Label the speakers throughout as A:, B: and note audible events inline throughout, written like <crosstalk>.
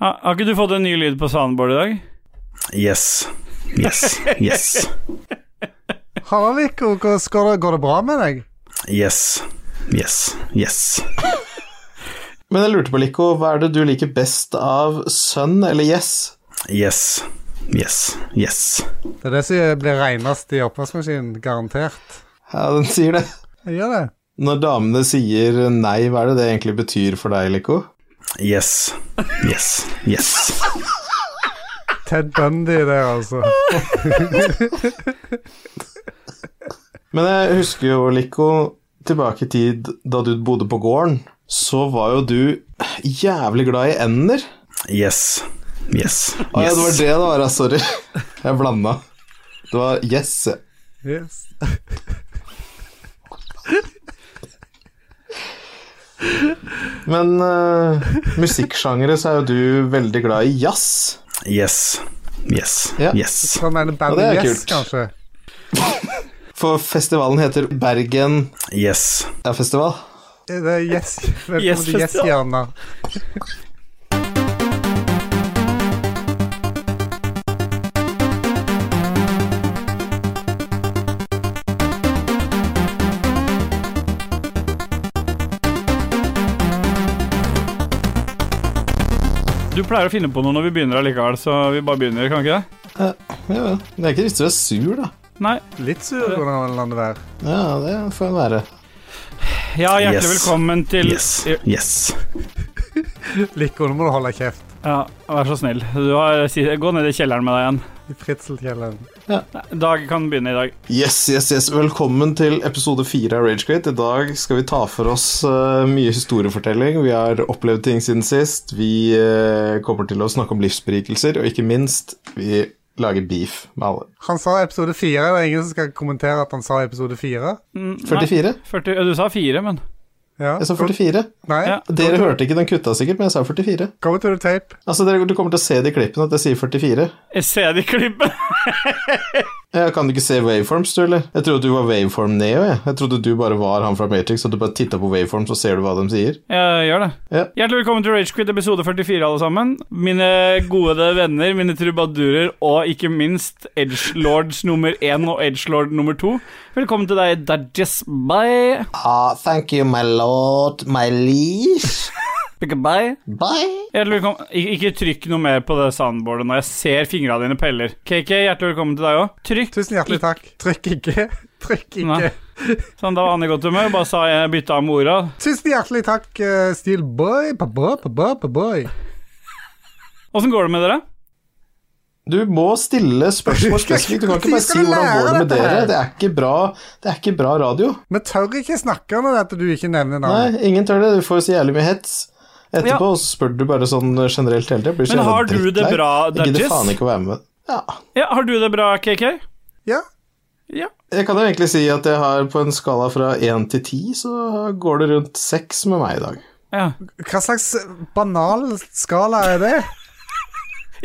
A: Har, har ikke du fått en ny lyd på soundboard i dag?
B: Yes. Yes. Yes.
C: Haraldik, og hva- skal det- går det bra med deg?
B: Yes. Yes. Yes.
D: Men jeg lurte på, Lico, hva er det du liker best av Sun eller Yes?
B: Yes. Yes. Yes.
C: Det er det som blir renest i oppvaskmaskinen, garantert.
D: Ja, den sier det.
C: Jeg gjør det.
D: Når damene sier nei, hva er det det egentlig betyr for deg, Lico?
B: Yes. Yes. Yes.
C: Ted Bundy der, altså.
D: Men jeg husker jo, Lico, tilbake i tid da du bodde på gården, så var jo du jævlig glad i ender.
B: Yes. Yes.
D: Å ja, det var
B: Yes.
D: det det var, ja, sorry. Jeg blanda. Det var yes. ja.
C: Yes.
D: Men uh, musikksjangere så er jo du veldig glad i jazz.
B: Yes. Yes.
D: Ja.
B: Yes.
C: Hva mener
D: Ja,
C: bandet
D: det er
C: Yes,
D: kult.
C: kanskje?
D: For festivalen heter Bergen
B: Yes.
D: ja, festival.
C: Det er <laughs> Yes. Velkommen til
A: Yes-festival.
C: Yes-hjørnet.
A: Du pleier å finne på noe når vi begynner allikevel, så vi bare begynner, kan ikke det?
D: Ja, det er ikke riktig du er sur, da.
A: Nei.
C: Litt sur, hvordan la det være.
D: Ja, det får en være.
A: Ja, hjertelig
B: Yes.
A: velkommen til
B: Yes. Yes.
C: Lico, nå må du holde kjeft.
A: Ja, vær så snill. Du har, si- gå ned i kjelleren med deg igjen.
C: I fritselkjelleren.
A: Nei, Dag kan begynne i dag.
D: Yes, yes, yes. Velkommen til episode fire av Ragequit. I dag skal vi ta for oss eh, mye historiefortelling. Vi har opplevd ting siden sist. Vi eh, kommer til å snakke om livsberikelser, og ikke minst, vi lager beef med alle.
C: Han sa episode fire. Det er ingen som skal kommentere at han sa episode fire.
A: Mm, nei,
D: 44?
A: 40, ja, du sa fire, men
C: Ja.
D: Jeg sa 44.
C: Nei,
A: Ja.
D: Dere hørte ikke den kutta sikkert, men jeg sa 44.
C: go to the tape.
D: Altså, dere, Du kommer til å se det i klippen at jeg sier 44.
A: Jeg ser det i klippet. <laughs>
D: Jeg kan du ikke se waveforms, du, eller? Jeg trodde du var waveform neo, jeg. Jeg trodde du bare var han fra Matrix, og du bare titta på waveforms, og ser du hva de sier.
A: Jeg gjør det.
D: Ja.
A: Hjertelig velkommen til Ragequid episode 44, alle sammen. Mine gode venner, mine trubadurer og ikke minst Edgelords nummer én og Edgelord nummer to. Velkommen til deg, Dajess. Bye.
D: Ah, thank you, my lord, my liege.
A: Bye.
D: Bye.
A: Hjertelig velkommen Ik Ikke trykk noe mer på det soundboardet når jeg ser fingra dine peller. KK, hjertelig velkommen til deg òg. Trykk.
C: Tusen hjertelig takk. Trykk ikke. <laughs> Trykk ikke.
A: Nei. Sånn, da var han i godt humør. Bare sa jeg bytta om orda.
C: Tusen hjertelig takk, eh, Steel Boy. Ba, ba, ba, ba, ba, boy.
A: Åssen går det med dere?
D: Du må stille <laughs> spørsmål spesifikt. Du kan ikke bare si hvordan går det med dere. Det er ikke bra, det er ikke bra radio.
C: Vi tør ikke snakke når at du ikke nevner navnet.
D: Nei, ingen tør det. Du får så jævlig mye hets. Etterpå så spør du bare sånn generelt hele tida. Blir så
A: Men
D: jævla
A: har du det
D: drittlei.
A: bra,
D: Jeg gidder
A: Dudges?
D: faen ikke å være med. Ja.
A: Ja, Har du det bra, KK?
C: Ja.
A: Ja.
D: Jeg kan jo egentlig si at jeg har på en skala fra én til ti, så går det rundt seks med meg i dag.
A: ja.
C: Hva slags banal skala er det?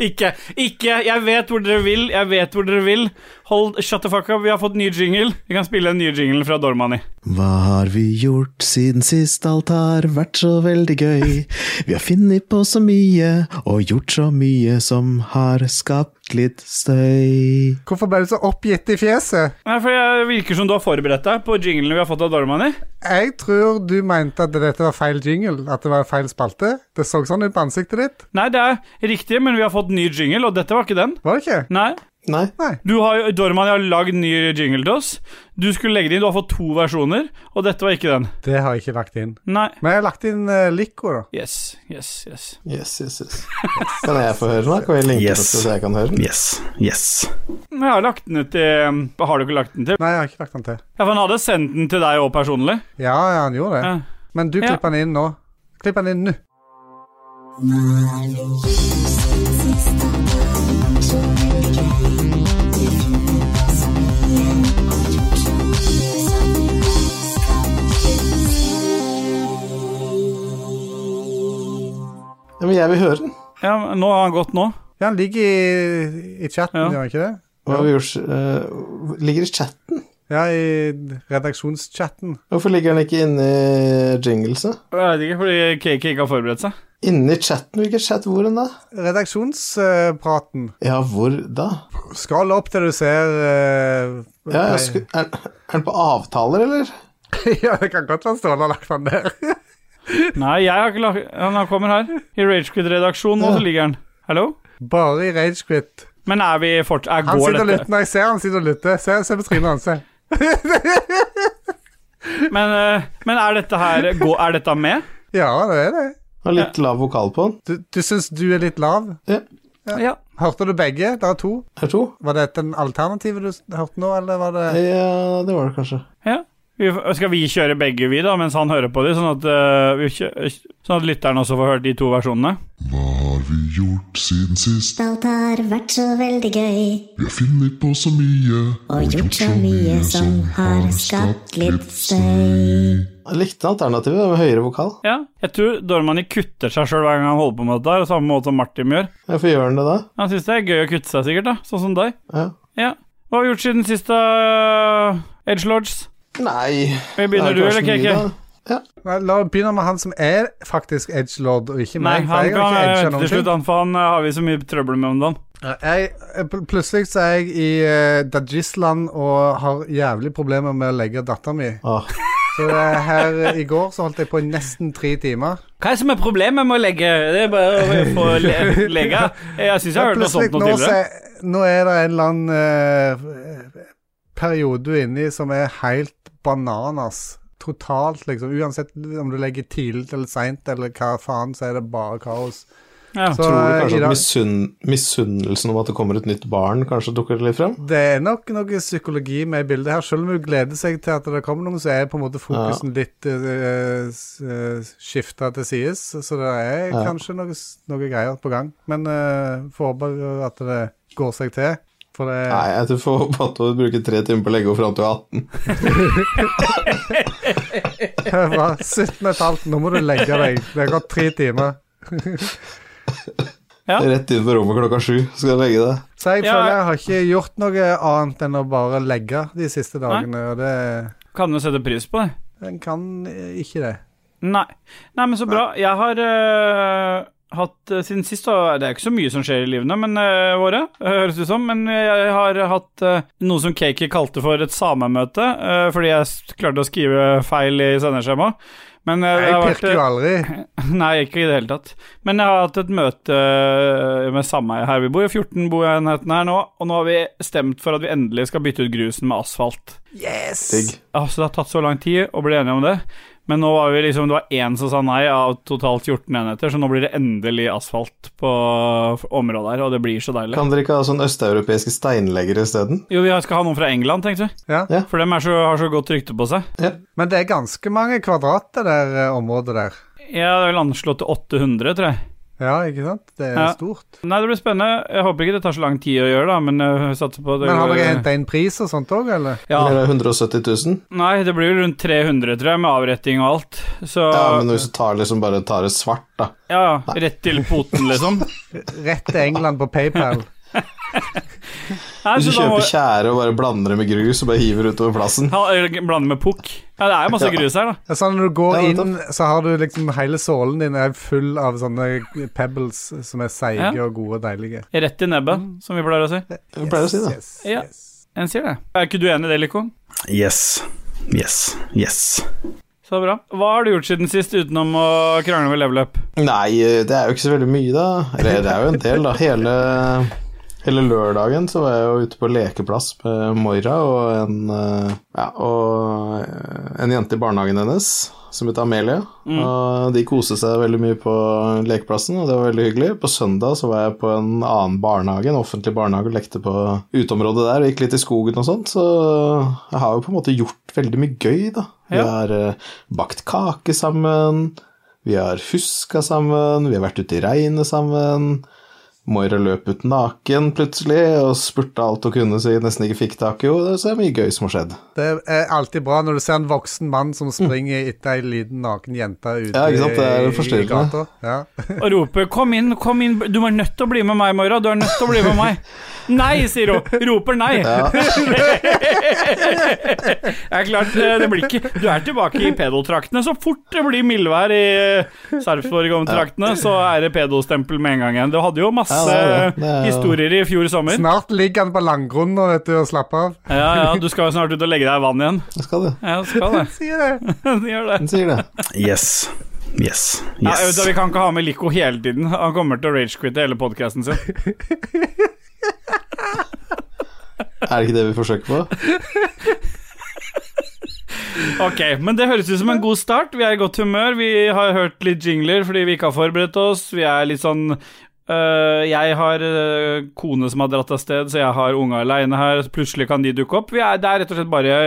A: Ikke, ikke, jeg vet hvor dere vil, jeg vet hvor dere vil. Hold, shut the fuck up, vi har fått ny jingle. Vi kan spille en ny jingle fra Dormani.
D: Hva har vi gjort siden sist alt har vært så veldig gøy? Vi har funnet på så mye og gjort så mye som har skapt litt støy.
C: Hvorfor ble du så oppgitt i fjeset?
A: Nei, for jeg virker som du har forberedt deg på jinglen vi har fått av Dormani.
C: Jeg tror du mente at dette var feil jingle, at det var feil spalte. Det så sånn ut på ansiktet ditt.
A: Nei, det er riktig, men vi har fått ny jingle, og dette var ikke den.
C: Var det ikke?
A: Nei.
D: Nei.
A: Du har, jo- Dormani har lagd ny jingle til oss. Du skulle legge det inn, du har fått to versjoner, og dette var ikke den.
C: Det har jeg ikke lagt inn.
A: Nei.
C: Men jeg har lagt inn uh, Lico, da.
A: Yes, yes, yes.
D: Yes, yes, yes. Kan jeg få høre den? da? Kan jeg linke
B: Yes.
D: yes. så jeg kan høre den?
B: Yes. Yes.
A: Men Jeg har lagt den ut til ehm, Har du ikke lagt den til?
C: Nei, jeg har ikke lagt den til.
A: Ja, for han hadde sendt den til deg òg personlig.
C: Ja, ja, han gjorde det.
A: Ja.
C: Men du
A: Ja.
C: klipper den inn nå. Klipp den inn nå.
D: Ja, men jeg vil høre den.
A: Ja, men nå har han gått nå.
C: Ja, han ligger i, i chatten,
A: Ja.
C: gjør han ikke det?
D: Hva har vi gjort? eh, ligger i chatten.
C: Ja, i redaksjonschatten.
D: Hvorfor ligger den ikke inne i jingles? da?
A: Jeg vet ikke, fordi KK ikke har forberedt seg.
D: Inni chatten? Hvilken chat? Hvor enn da?
C: Redaksjonspraten.
D: Ja, hvor da?
C: Skroll opp til du ser eh,
D: Ja,
C: nei.
D: jeg sku... er, er den på avtaler, eller?
C: <laughs> ja, det kan godt være Ståle har lagt den der.
A: Nei, jeg har ikke lagt Han han kommer her. I Ragequid-redaksjonen, og så ligger han. Hallo?
C: <laughs> Bare i ragequit.
A: Men er vi fortsatt
C: Han
A: Går
C: sitter og
A: dette?
C: lytter. Når jeg ser han sitter og lytter, se, se på trynet hans. se.
A: Men, eh, men er dette her gå- Er dette med?
C: Ja, det er det.
D: Og litt lav vokal på den.
C: Du, du syns du er litt lav?
A: Ja.
C: Hørte du begge? Det er to.
D: Her to?
C: Var det den alternativet du s- hørte nå, eller var det
D: Ja, det var det kanskje.
A: ja. Vi, skal vi kjøre begge, vi, da, mens han hører på de, sånn at, eh, vi kjø- sånn at lytteren også får hørt de to versjonene?
E: Hva har vi gjort siden sist?
F: Alt har vært så veldig gøy
E: Vi har funnet på så mye
F: og gjort så mye som har skapt litt støy.
D: Jeg likte alternativet med høyere vokal.
A: Ja. Jeg tror Dormani kutter seg sjøl hver gang han holder på med dette, her, samme måte som Martin gjør.
D: Hvorfor gjør den det da?
A: Han syns det er gøy å kutte seg, sikkert, da, sånn som deg.
D: Ja.
A: Ja. Hva har vi gjort siden sist, da, eh, Edge Lords?
D: Nei
A: Vi begynner
D: det
A: du,
D: er
A: eller
D: kanskje mye,
A: KK?
D: da. Ja.
C: Nei, La oss begynne med han som er faktisk edgelord, og ikke
A: Nei,
C: meg. for
A: han
C: jeg har
A: kan
C: ikke edget
A: eh, vente
C: noen
A: til slutt,
C: ting.
A: han, for han eh, har vi så mye trøbbel med om dagen.
C: Jeg, jeg- pl- plutselig så er jeg i uh, Dajisland og har jævlig problemer med å legge dattera mi.
D: Åh,
C: Så eh, her eh, i går så holdt jeg på i nesten tre timer.
A: Hva er det som er problemet med å legge Det er bare å få
C: <laughs>
A: le legge. Jeg syns jeg har hørt noe sånt noe
C: Plutselig nå,
A: tidligere.
C: så er- nå er det en eller annen eh, periode du er inne i som er helt bananas. Totalt, liksom. Uansett om du legger tidlig eller seint eller hva faen, så er det bare kaos.
A: Ja.
C: Så
D: tror du
C: eh, i
D: kanskje
C: dag-
D: at misunn, misunnelsen om at det kommer et nytt barn, kanskje dukker litt frem?
C: det er nok noe psykologi med i bildet her. Selv om hun gleder seg til at det kommer noen, så er på en måte fokusen litt eh, uh, skifta til sides. Så det er
D: Ja.
C: kanskje noe, s- noe greier på gang. Men uh, får håpe at det går seg til. For det <laughs>
D: Nei, jeg tror vi får håpe at du bruker tre timer på å legge henne fram til hun er 18.
C: var 17,5. Nå må du legge deg. Det har gått tre timer.
A: Ja.
D: Rett inn på rommet klokka sju skal du legge deg.
C: Så jeg
A: Ja,
C: føler
A: jeg-
C: jeg har ikke gjort noe annet enn å bare legge de siste dagene. Og det
A: Kan jo sette pris på det.
C: En kan eh, ikke det.
A: Nei. Nei, men så bra. Jeg har øh, hatt øh, Siden sist, da Det er ikke så mye som skjer i livene men, øh, våre, høres det ut som, men jeg har hatt øh, noe som Kaki kalte for et samemøte, øh, fordi jeg s- klarte å skrive feil i sendeskjemaet. Men øh, det
C: Jeg
A: har vært
C: pirker jo aldri.
A: <laughs> Nei, ikke i det hele tatt. Men jeg har hatt et møte eh, med sameie her vi bor. 14 bor jeg i nærheten her nå, og nå har vi stemt for at vi endelig skal bytte ut grusen med asfalt.
D: Digg.
A: Altså, det har tatt så lang tid å bli enige om det, men nå var vi liksom Det var én som sa nei av totalt 14 enheter, så nå blir det endelig asfalt på området her, og det blir så deilig.
D: Kan dere ikke ha sånn østeuropeiske steinleggere isteden?
A: Jo, vi skal ha noen fra England, tenkte vi.
C: Ja.
D: Ja.
A: For dem er så, har så godt rykte på seg.
C: Men det er ganske mange kvadrat det der eh, området der.
A: Ja, det er vel anslått til 800, tror jeg.
C: Ja, ikke sant? Det er
A: Ja.
C: stort.
A: Nei, det blir spennende. Jeg håper ikke det tar så lang tid å gjøre, da, men jeg satser på at det
C: Men har
A: går-
C: dere henta inn pris og sånt òg, eller?
A: ja.
D: Eller er det 170 000?
A: Nei, det blir vel rundt 300, tror jeg, med avretting og alt. Så
D: Ja,
A: ja,
D: men hvis du tar liksom bare tar det svart, da.
A: ja, rett til poten,
D: <laughs>
A: liksom.
C: Rett til England på
A: <laughs>
C: PayPal.
A: Nei,
D: Hvis
A: så
D: du
A: da må
D: kjøper tjære og bare blander det med grus og bare hiver utover plassen.
A: ja, eller blande med pukk. Ja, det er jo masse
D: Ja.
A: grus her, da.
C: Det er sånn Når du går
D: Ja, nettopp.
C: inn, så har du liksom hele sålen din er full av sånne pebbles som er seige
A: Ja.
C: og gode og deilige.
A: Rett i nebbet,
D: Mm.
A: som vi pleier å si.
D: Jeg pleier å si det.
C: Yes,
A: Ja.
C: yes.
A: En sier det. Er ikke du enig i det, Lico?
B: Yes. Yes. Yes.
A: Så bra. Hva har du gjort siden sist utenom å krangle med
D: <laughs>
A: level up?
D: Nei, eh, det er jo ikke så veldig mye, da. Eller det er jo en del, da. Hele, hele lørdagen så var jeg jo ute på lekeplass med Moira og en, eh, ja, og eh, en jente i barnehagen hennes som het Amelia. Og de koste seg veldig mye på lekeplassen, og det var veldig hyggelig. På søndag så var jeg på en annen barnehage, en offentlig barnehage, og lekte på uteområdet der og gikk litt i skogen og sånt, så jeg har jo på en måte gjort veldig mye gøy, da. Vi
A: Ja.
D: har eh, bakt kake sammen. Vi har huska sammen, vi har vært ute i regnet sammen. Moira løp ut naken plutselig og spurte alt hun kunne så jeg nesten ikke fikk tak i henne. Så det er mye gøy som har skjedd.
C: Det er alltid bra når du ser en voksen mann som springer etter ei liten naken jente ute
D: Ja, ikke sant? Det
C: i-
D: er
C: i
D: forstyrrende.
C: gata. Ja.
D: <laughs>
A: Og roper 'kom inn, kom inn', du er nødt til å bli med meg, Moira. Du er nødt til å bli med meg. Nei, sier hun. Roper nei. <laughs> det er klart, eh, det blir ikke Du er tilbake i pedotraktene. Så fort det blir mildvær i eh, Sarpsborg-traktene, så er det pedostempel med en gang igjen. Du hadde jo masse
D: Ja, det er det. Det er jo-
A: historier i fjor sommer.
C: Snart ligger han på landgrunnen og vet du, og slapper av.
A: Ja, ja, du skal jo snart ut og legge deg i vann igjen.
D: Jeg skal det.
A: Ja, skal det.
C: Sier det.
A: <laughs> Gjør det.
D: Den sier det.
B: Yes. Yes.
A: Ja, jeg vet,
B: Yes.
A: da, vi kan ikke ha med Lico hele tiden. Han kommer til å ragequitte hele podkasten sin.
D: Er det ikke det vi forsøker <laughs> på?
A: Ok, men det høres ut som en god start. Vi er i godt humør. Vi har hørt litt jingler fordi vi ikke har forberedt oss. Vi er litt sånn øh, Jeg har øh, kone som har dratt av sted, så jeg har unga aleine her. Så plutselig kan de dukke opp. Vi er, det er rett og slett bare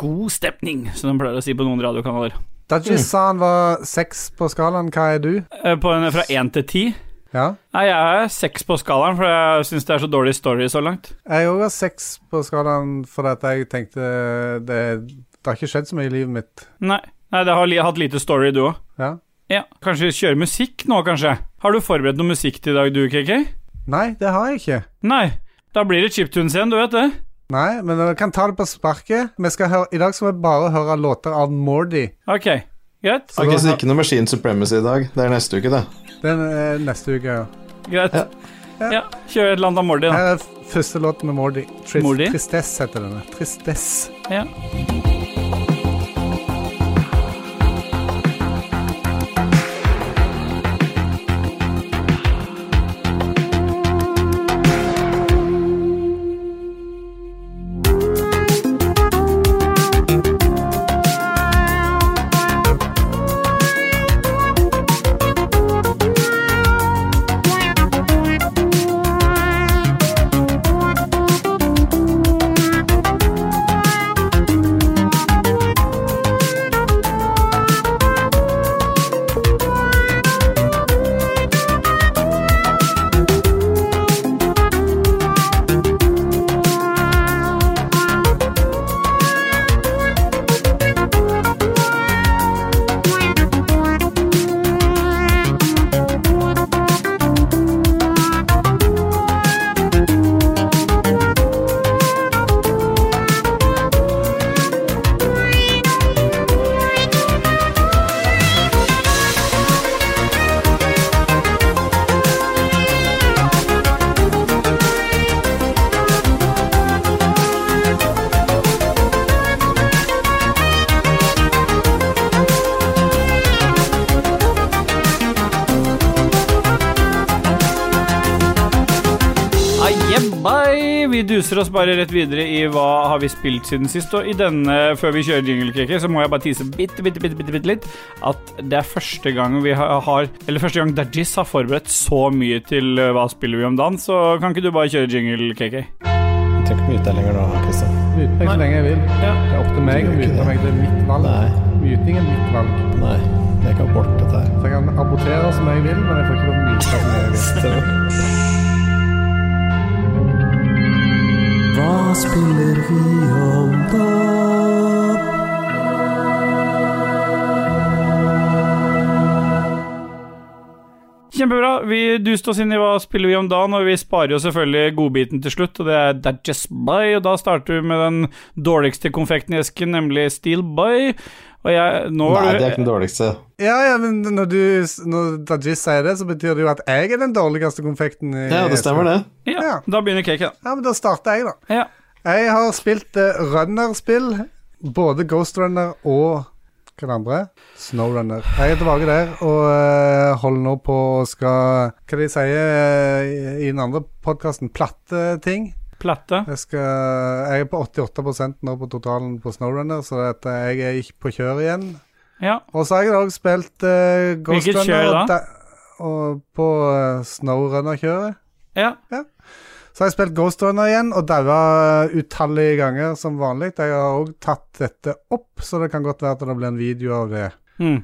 A: god stemning, som de pleier å si på noen radiokanaler.
C: Dudgies sa han var seks på skalaen. Hva er du?
A: Eh, På en fra én til ti.
C: Ja.
A: Nei, jeg er seks på skalaen, for jeg syns det er så dårlig story så langt.
C: Jeg òg har seks på skalaen fordi at jeg tenkte det, det har ikke skjedd så mye i livet mitt.
A: Nei, Nei det har li hatt lite story, du òg.
C: Ja.
A: Ja, kanskje kjøre musikk nå, kanskje? Har du forberedt noe musikk til i dag, du, KK?
C: Nei, det har jeg ikke.
A: Nei. Da blir det chiptunes igjen, du vet det.
C: Nei, men dere kan ta det på sparket. Vi skal høre, I dag skal vi bare høre låter av Mordy.
A: Ok, greit.
D: Ok, Så ikke noe Machine Supremacy i dag. Det er neste uke, det.
C: Den er neste uke. Ja.
A: Greit. Ja, kjør et eller annet av Mordi, da.
C: Her er f- første låt med Mordy. Tris
A: Mordi?
C: Tristesse heter denne. Tristesse.
A: Ja. Ah, yeah, bye. Vi duser oss bare rett videre i hva har vi spilt siden sist. Og i denne, før vi kjører jinglekriket, så må jeg bare tise bitte, bitte, bitte, bitte, bitte litt at det er første gang vi har, har Eller første gang Dajis har forberedt så mye til eh, hva spiller vi om dagen, så kan ikke du bare kjøre jingle, KK?
D: Jeg trenger ikke mute deg lenger nå, Kristian.
C: Mute meg så lenge jeg vil.
A: Ja.
C: Det er opp til meg å mute meg. Det er mitt valg.
D: Nei.
C: Muting er mitt valg.
D: Nei, det er ikke abort, dette her.
C: Så jeg kan abortere som jeg vil, men jeg får ikke lov å mute som jeg vil.
A: Kjempebra. Vi duste oss inn i hva spiller vi om dagen, og vi sparer jo selvfølgelig godbiten til slutt, og det er That Just Buy, og da starter vi med den dårligste konfekten i esken, nemlig Steel Buy. Og jeg Nå
D: Nei,
A: var
D: det er
A: det
D: ikke den dårligste.
C: Ja, ja, men når, du, når Dajis sier det, så betyr det jo at jeg er den dårligste konfekten. i-
D: Ja, det stemmer, det.
A: Ja, da begynner caken.
C: Ja, men da starter jeg, da.
A: Ja.
C: Jeg har spilt eh, runnerspill. Både Ghost Runner og hva er det andre? Snowrunner. Jeg er tilbake der og eh, holder nå på å skal Hva de sier eh, i- i den andre podkasten? Platte ting.
A: Platte.
C: Jeg, skal, jeg er på 88 nå på totalen på Snowrunner, så at eh, jeg er ikke på kjør igjen.
A: Ja.
C: Og så har jeg da også spilt eh, Ghost
A: Hvilket
C: Runner
A: kjør
C: og
A: da?
C: da- Og på eh, Snowrunner-kjøret.
A: Ja.
C: Så har jeg spilt Ghost Runner igjen, og daua utallige ganger som vanlig. Jeg har òg tatt dette opp, så det kan godt være at det blir en video av det.
A: Mm.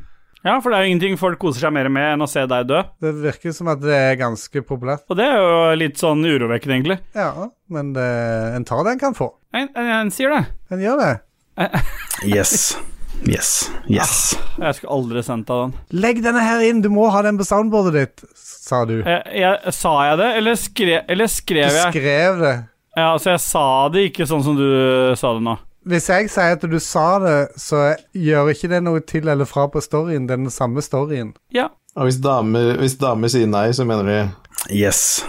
A: ja, for det er jo ingenting folk koser seg mer med enn å se deg dø.
C: Det virker som at det er ganske populært.
A: Og det er jo litt sånn urovekkende, egentlig.
C: Ja, men det, en tar det en kan få.
A: <laughs> En, en, en sier det.
C: En gjør det.
B: Yes. Yes. Yes.
A: Jeg skulle aldri sendt deg den.
C: Legg denne her inn, du må ha den på soundboardet ditt, sa du.
A: Jeg, jeg, sa jeg det, eller, skre, eller
C: Du
A: skrev jeg?
C: skrev det.
A: Ja, altså, jeg sa det ikke sånn som du sa det nå.
C: Hvis jeg sier at du sa det, så gjør ikke det noe til eller fra på storyen. Det er den samme storyen.
A: Ja.
D: Og hvis damer, hvis damer sier nei, så mener de
B: Yes.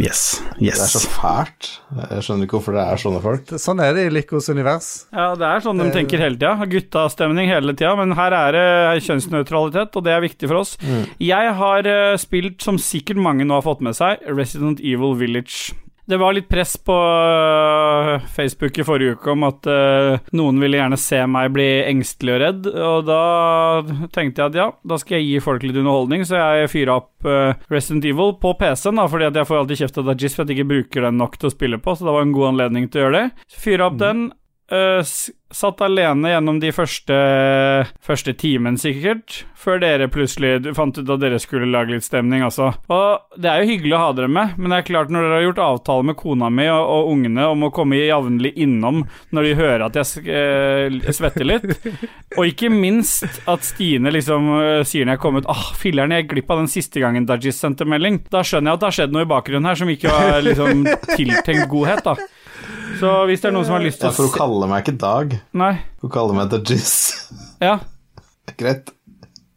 B: Yes.
D: det er så
B: Yes.
D: fælt. Jeg skjønner ikke hvorfor det er sånne folk.
C: Det- Sånn er det i Likos univers.
A: ja, det er sånn de tenker hele tida. Guttastemning hele tida, men her er det kjønnsnøytralitet, og det er viktig for oss. Jeg har eh, spilt, som sikkert mange nå har fått med seg, Resident Evil Village. Det var litt press på eh, Facebook i forrige uke om at eh, noen ville gjerne se meg bli engstelig og redd, og da tenkte jeg at ja, da skal jeg gi folk litt underholdning, så jeg fyra opp eh, Resident Evil på PC-en, da, fordi at jeg får alltid kjeft av Dajis for at jeg ikke bruker den nok til å spille på, så det var en god anledning til å gjøre det. Så Fyra opp den, Eh, s- satt alene gjennom de første, første timen, sikkert, før dere plutselig du fant ut at dere skulle lage litt stemning, altså. Og det er jo hyggelig å ha dere med, men det er klart når dere har gjort avtale med kona mi og, og ungene om å komme jevnlig innom når de hører at jeg s- eh, svetter litt, og ikke minst at Stine liksom øh, sier når jeg kom ut Ah, filler'n, jeg gikk glipp av den siste gangen Dajis sendte melding. Da skjønner jeg at det har skjedd noe i bakgrunnen her som ikke var liksom tiltenkt godhet, da. Så hvis det er noen som har lyst
D: Ja,
A: til
D: for
A: å
D: hun kaller meg ikke Dag,
A: Nei.
D: hun kaller meg Dajis.
A: Ja.
D: <laughs> Greit.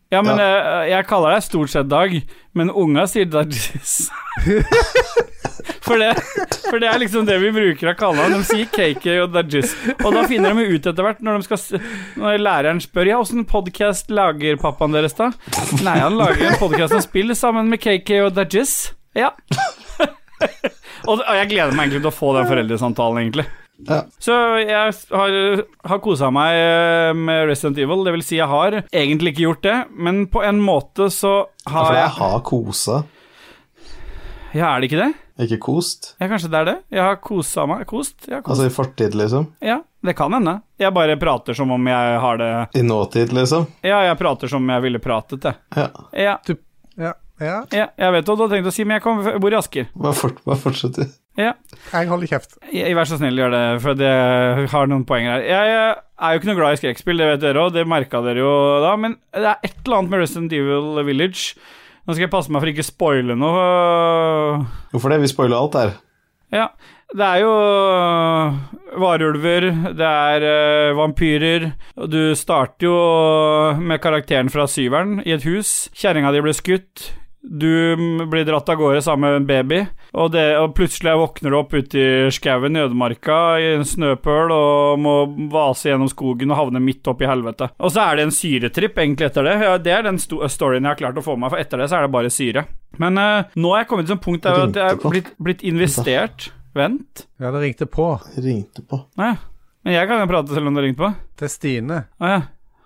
A: Ja, men eh, jeg kaller deg stort sett Dag, men unga sier Dajis. For det, for det er liksom det vi bruker av kallenavn. De sier KK og Dajis. Og da finner de jo ut etter hvert, når, de skal, s- når læreren spør Ja, åssen podkast lager pappaen deres, da? Nei, han lager en podkast om spill sammen med KK og Dajis. Ja. <laughs> og og jeg gleder meg egentlig til å få den foreldresamtalen, egentlig.
D: Ja.
A: Så jeg har, har kosa meg eh, med Resident Evil. Det vil si, jeg har egentlig ikke gjort det, men på en måte så
D: Ja,
A: har
D: for Altså, jeg
A: jeg
D: har kosa,
A: Ja, er det ikke det?
D: ikke kost.
A: Ja, kanskje det er det? Jeg har kosa meg. Kost? Jeg har kost.
D: Altså i fortid, liksom.
A: Ja, det kan hende. Jeg bare prater som om jeg har det
D: I nåtid, liksom.
A: Ja, jeg prater som jeg ville pratet, jeg.
D: Ja.
A: Ja,
C: Ja. ja.
A: ja, jeg vet hva du har tenkt å si, men jeg kommer, jeg bor i Asker.
D: Bare, fort, bare fortsett, du.
A: Ja.
C: Jeg holder kjeft.
A: Jeg- Vær så snill, gjør det, for det har noen poenger her. Jeg er jo ikke noe glad i skrekkspill, det vet dere òg, det merka dere jo da, men det er et eller annet med Resident Evil Village. Nå skal jeg passe meg for ikke å spoile noe.
D: Hvorfor det? Vi spoiler alt her.
A: Ja, det er jo øh, varulver, det er øh, vampyrer og Du starter jo med karakteren fra syveren i et hus. Kjerringa di blir skutt. Du mm, blir dratt av gårde sammen med en baby, og, det, og plutselig våkner du opp ute i skauen i ødemarka i en snøpøl og må vase gjennom skogen og havne midt opp i helvete. Og så er det en syretripp egentlig etter det. Ja, det er den sto storyen jeg har klart å få med meg, for etter det så er det bare syre. Men øh, nå er jeg kommet til et punkt der at jeg er blitt, blitt investert. Vent.
C: Ja, det ringte på.
D: Ringte på.
A: Nei, men jeg kan jo prate selv om det ringte på.
C: Det er Stine.
A: Å ja.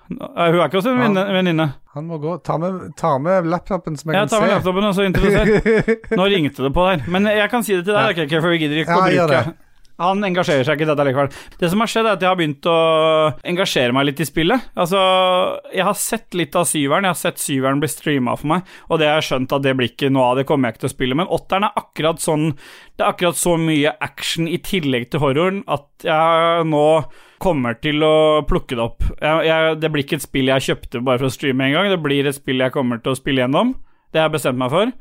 A: Nå- eh, Hun er ikke hos en venninne- venninne.
C: Han må gå. Ta med, ta med laptopen, så vi
A: Jeg
C: kan
A: tar med
C: se.
A: laptopen og så
C: <laughs>
A: introduserer. Nå ringte det på der. Men jeg kan si det til deg, ikke, for vi gidder ikke
C: Ja,
A: å
C: gjør
A: bruke
C: det.
A: Han engasjerer seg ikke i dette likevel. Det som har skjedd, er at jeg har begynt å engasjere meg litt i spillet. Altså, jeg har sett litt av syveren. Jeg har sett syveren bli streama for meg, og det har jeg skjønt at det blir ikke noe av. Det kommer jeg ikke til å spille. Men åtteren er akkurat sånn Det er akkurat så mye action i tillegg til horroren at jeg nå kommer til å plukke det opp. Jeg, jeg, det blir ikke et spill jeg kjøpte bare for å streame en gang. Det blir et spill jeg kommer til å spille gjennom. Det har jeg bestemt meg for.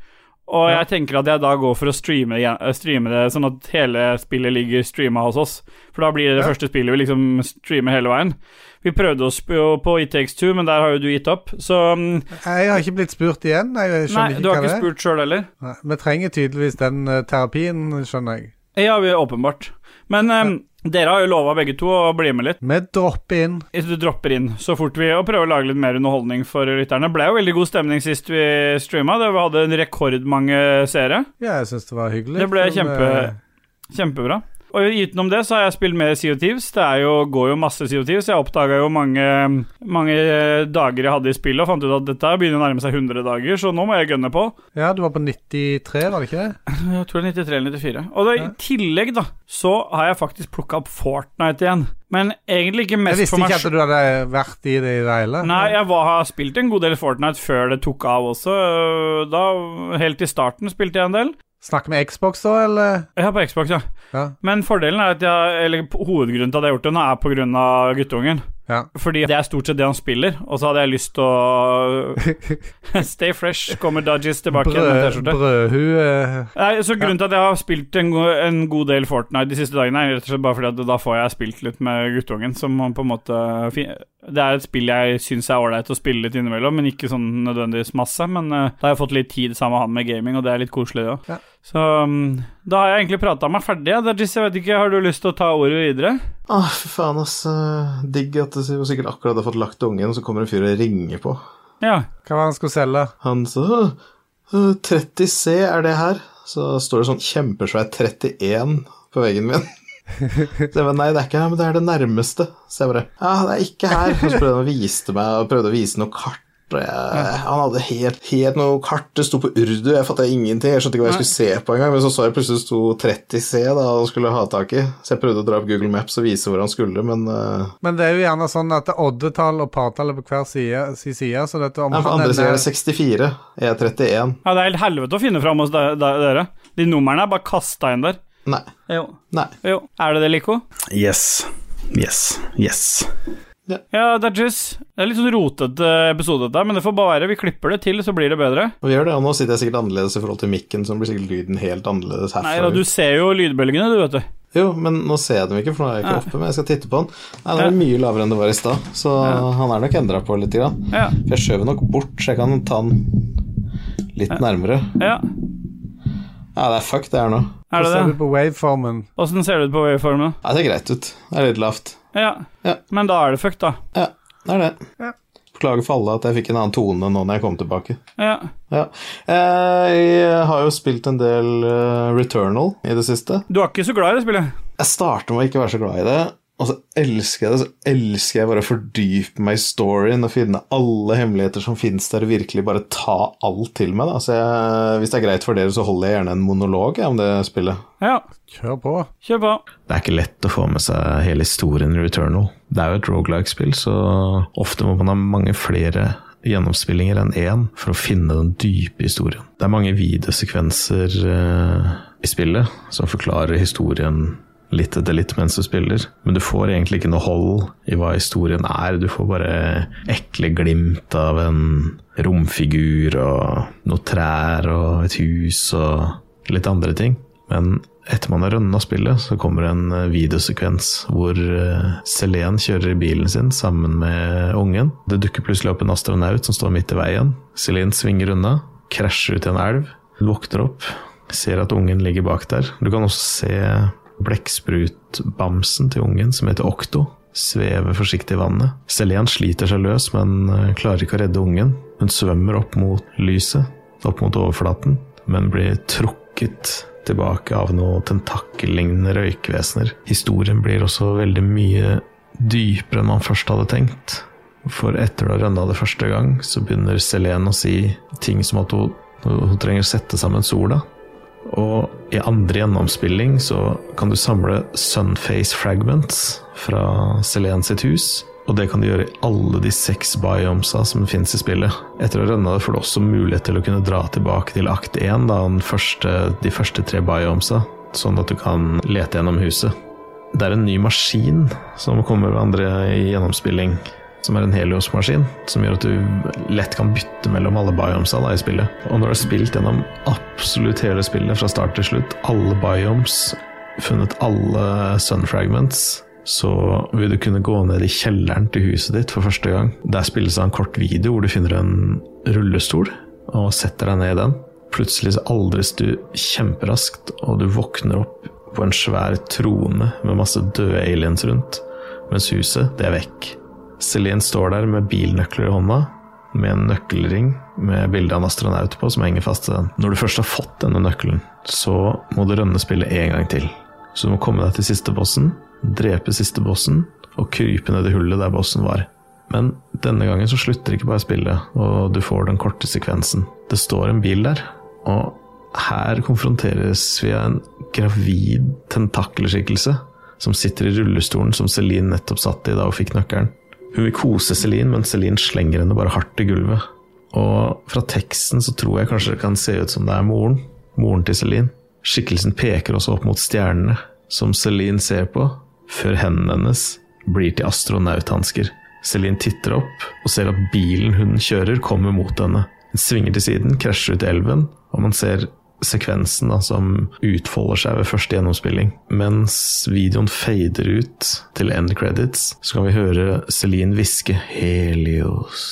A: Og jeg tenker at jeg da går for å streame, igjen- streame det, sånn at hele spillet ligger streama hos oss. For da blir det det første spillet vi liksom streamer hele veien. Vi prøvde oss på, på It Takes Two, men der har jo du gitt opp. Så mm,
C: Jeg har ikke blitt spurt igjen. Jeg
A: Nei, du har
C: skjønner ikke hva
A: ikke
C: det er.
A: spurt sjøl heller.
C: Nei, Vi trenger tydeligvis den eh, terapien, skjønner jeg.
A: Ja, vi åpenbart. Men em, dere har jo lova begge to å bli med litt.
C: Vi dropper inn.
A: Hvis du dropper inn så fort vi Og prøver å lage litt mer underholdning for lytterne. Det ble jo veldig god stemning sist vi streama. Det hadde en rekordmange seere.
C: Ja, jeg syns det var hyggelig.
A: Det ble
C: Men,
A: kjempe-
C: eh,
A: Kjempebra. Og utenom det så har jeg spilt mer CO Thieves. Det er jo, går jo masse CO Thieves. Jeg oppdaga jo mange, mange eh, dager jeg hadde i spillet, og fant ut at dette begynner å nærme seg 100 dager, så nå må jeg gønne på.
C: Ja, du var på 93, var det ikke det?
A: Jeg tror det er 93 eller 94. Og da, i tillegg, da, så har jeg faktisk plukka opp Fortnite igjen. Men egentlig ikke
C: Jeg
A: mest
C: visste
A: for meg
C: ikke at du hadde eh, vært i det i det hele.
A: Nei, jeg var, har spilt en god del Fortnite før det tok av også. Øh, Da, Helt i starten spilte jeg en del.
C: Snakke med Xbox da, eller?
A: Jeg har på Xbox, ja.
C: Ja.
A: Men fordelen er at jeg, eller hovedgrunnen til at jeg har gjort det nå, er på grunn av guttungen.
C: Ja.
A: Fordi det er stort sett det han spiller, og så hadde jeg lyst til å <laughs> Stay fresh, kommer Dodges tilbake igjen med
C: Brød,
A: T-skjorte.
C: brødhue eh,
A: Nei, så Grunnen til at jeg har spilt en, go en god del Fortnite de siste dagene, er rett og slett bare fordi at da får jeg spilt litt med guttungen, som han på en måte fi- Det er et spill jeg syns er ålreit å spille litt innimellom, men ikke sånn nødvendigvis masse. Men eh, da har jeg fått litt tid sammen med han med gaming, og det er litt koselig, det òg.
C: Ja.
A: Så mm, da har jeg egentlig prata meg ferdig. ja. Dajis, jeg vet ikke, har du lyst til å ta ordet videre?
G: Ah, fy faen, ass. eh, Digg at du sikkert akkurat har fått lagt ungen, og så kommer en fyr og ringer på.
A: Ja.
C: Hva var det han skulle selge?
G: Han sa «Åh, eh, 30C er det her. Så står det sånn kjempesvær 31 på veggen min. Så jeg bare, Nei, det er ikke her, men det er det nærmeste. Så jeg bare Ja, det er ikke her. Og så prøvde han å vise meg og prøvde å vise noe kart. Og jeg, han hadde helt, helt noe kart. Det sto på urdu. Jeg fatta ingenting. Jeg skjønte ikke hva jeg skulle se på engang. Men så så jeg plutselig det sto 30C da han skulle ha tak i. Så jeg prøvde å dra opp Google Maps og vise hvor han skulle, men eh,
C: Men det er jo gjerne sånn at det er oddetall og partall er på hver side, si side så dette om
G: Nei, på
C: han
G: andre
C: er
G: siden er det
C: nær-
G: 64. Jeg er 31.
A: ja, det er helt helvete å finne fram hos de- de- dere. De numrene er bare kasta inn der.
G: Nei.
A: Jo.
G: Nei.
A: jo. Er det det, Lico?
H: Yes. Yes. Yes.
A: Ja, Dajis. Det er litt sånn rotete episode, dette, men det får bare være. Vi klipper det til, så blir det bedre.
G: Og vi gjør det, og nå sitter jeg sikkert annerledes i forhold til mikken, så blir sikkert lyden helt annerledes herfra.
A: Nei da, du ser jo lydbølgene, du, vet du.
G: Jo, men nå ser jeg dem ikke, for nå er jeg ikke oppe, men jeg skal titte på den. Nei, den er mye lavere enn det var i stad, så han er nok endra på litt. Grann.
A: Ja.
G: For jeg skjøv den nok bort, så jeg kan ta den litt nærmere.
A: ja.
G: Ja, det er fuck det her nå.
A: Er det
C: Så ser
A: det?
C: du på waveformen.
A: Åssen ser det ut på waveformen?
G: Ja, det ser greit ut. Det er litt lavt.
A: Ja.
G: Ja.
A: Men da er det fucked, da.
G: Ja, det er det.
C: Ja.
G: Beklager for alle at jeg fikk en annen tone nå når jeg kom tilbake.
A: Ja.
G: Ja. Eh, Jeg har jo spilt en del eh, Returnal i det siste.
A: Du er ikke så glad i det spillet?
G: Jeg starter med å ikke være så glad i det, og så elsker jeg det. Så elsker jeg bare å fordype meg i storyen og finne alle hemmeligheter som fins der, og virkelig bare ta alt til meg. Da. Så jeg, hvis det er greit for dere, så holder jeg gjerne en monolog jeg, om det spillet.
A: Ja.
C: Kjør på.
A: Kjør på.
D: Det er ikke lett å få med seg hele historien i Returnal. Det er jo et roguelike-spill, så ofte må man ha mange flere gjennomspillinger enn én for å finne den dype historien. Det er mange videosekvenser eh, i spillet som forklarer historien litt etter litt mens du spiller, men du får egentlig ikke noe hold i hva historien er. Du får bare ekle glimt av en romfigur og noen trær og et hus og litt andre ting. Men etter man har rønna spillet, så kommer det en eh, videosekvens hvor eh, Selene kjører i bilen sin sammen med ungen. Det dukker plutselig opp en astronaut som står midt i veien. Selene svinger unna, krasjer ut i en elv. Hun våkner opp, ser at ungen ligger bak der. Du kan også se blekksprutbamsen til ungen, som heter Okto, sveve forsiktig i vannet. Selene sliter seg løs, men eh, klarer ikke å redde ungen. Hun svømmer opp mot lyset, opp mot overflaten, men blir trukket tilbake av noe tentakkellignende røykvesener. Historien blir også veldig mye dypere enn man først hadde tenkt. For etter å ha rønna det første gang, så begynner Selene å si ting som at hun, hun trenger å sette sammen sola. Og i andre gjennomspilling så kan du samle Sunface Fragments fra Selene sitt hus. Og det kan du gjøre i alle de seks biomesa som fins i spillet. Etter å ha rønna det får du også mulighet til å kunne dra tilbake til akt 1, da, den første, de første tre biomesa. Sånn at du kan lete gjennom huset. Det er en ny maskin som kommer ved andre i gjennomspilling. Som er en heliosmaskin, som gjør at du lett kan bytte mellom alle biomesa da, i spillet. Og når du har spilt gjennom absolutt hele spillet fra start til slutt, alle biomes, funnet alle sun fragments, så vil du kunne gå ned i kjelleren til huset ditt for første gang. Der spilles det en kort video hvor du finner en rullestol og setter deg ned i den. Plutselig så aldres du kjemperaskt, og du våkner opp på en svær trone med masse døde aliens rundt, mens huset, det er vekk. Celine står der med bilnøkler i hånda, med en nøkkelring med bilde av en astronaut på som henger fast til den. Når du først har fått denne nøkkelen, så må du rønne spillet en gang til. Så du må komme deg til siste bossen, drepe siste bossen og krype ned i hullet der bossen var. Men denne gangen så slutter ikke bare spillet, og du får den korte sekvensen. Det står en bil der, og her konfronteres vi av en gravid tentakelskikkelse som sitter i rullestolen som Celine nettopp satt i da hun fikk nøkkelen. Hun vil kose Celine, men Celine slenger henne bare hardt i gulvet. Og fra teksten så tror jeg kanskje det kan se ut som det er moren. Moren til Celine. Skikkelsen peker også opp mot stjernene, som Celine ser på, før hendene hennes blir til astronauthansker.
I: Celine titter opp og ser at bilen hun kjører, kommer mot henne. Den svinger til siden, krasjer ut i elven, og man ser sekvensen da, som utfolder seg ved første gjennomspilling. Mens videoen fader ut til end credits, så kan vi høre Celine hviske 'Helios'.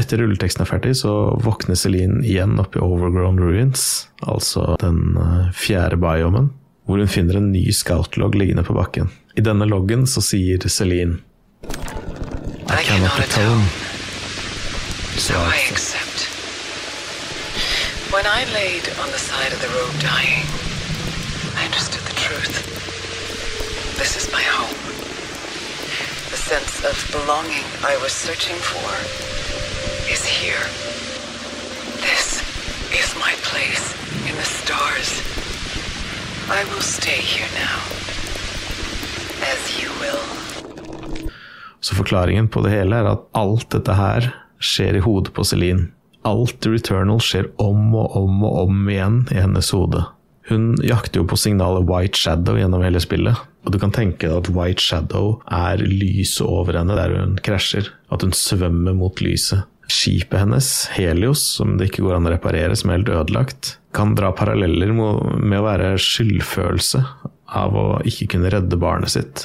I: Etter rulleteksten er ferdig, så våkner Celine igjen oppe i Overgrown Ruins, altså den eh, fjerde biomen, hvor hun finner en ny scoutlogg liggende på bakken. I denne loggen så sier Celine I cannot atone.
J: So I accept. When I laid on the side of the road dying, I understood the truth. This is my home. The sense of belonging I was searching for is here. This is my place in the stars. I will stay here now. As you will.
I: Så forklaringen på det hele er at alt dette her skjer i hodet på Celine. Alt i Returnal skjer om og om og om igjen i hennes hode. Hun jakter jo på signalet White Shadow gjennom hele spillet. Og du kan tenke deg at White Shadow er lyset over henne der hun krasjer. At hun svømmer mot lyset. Skipet hennes, Helios, som det ikke går an å reparere, som er helt ødelagt, kan dra paralleller mo- med å være skyldfølelse av å ikke kunne redde barnet sitt.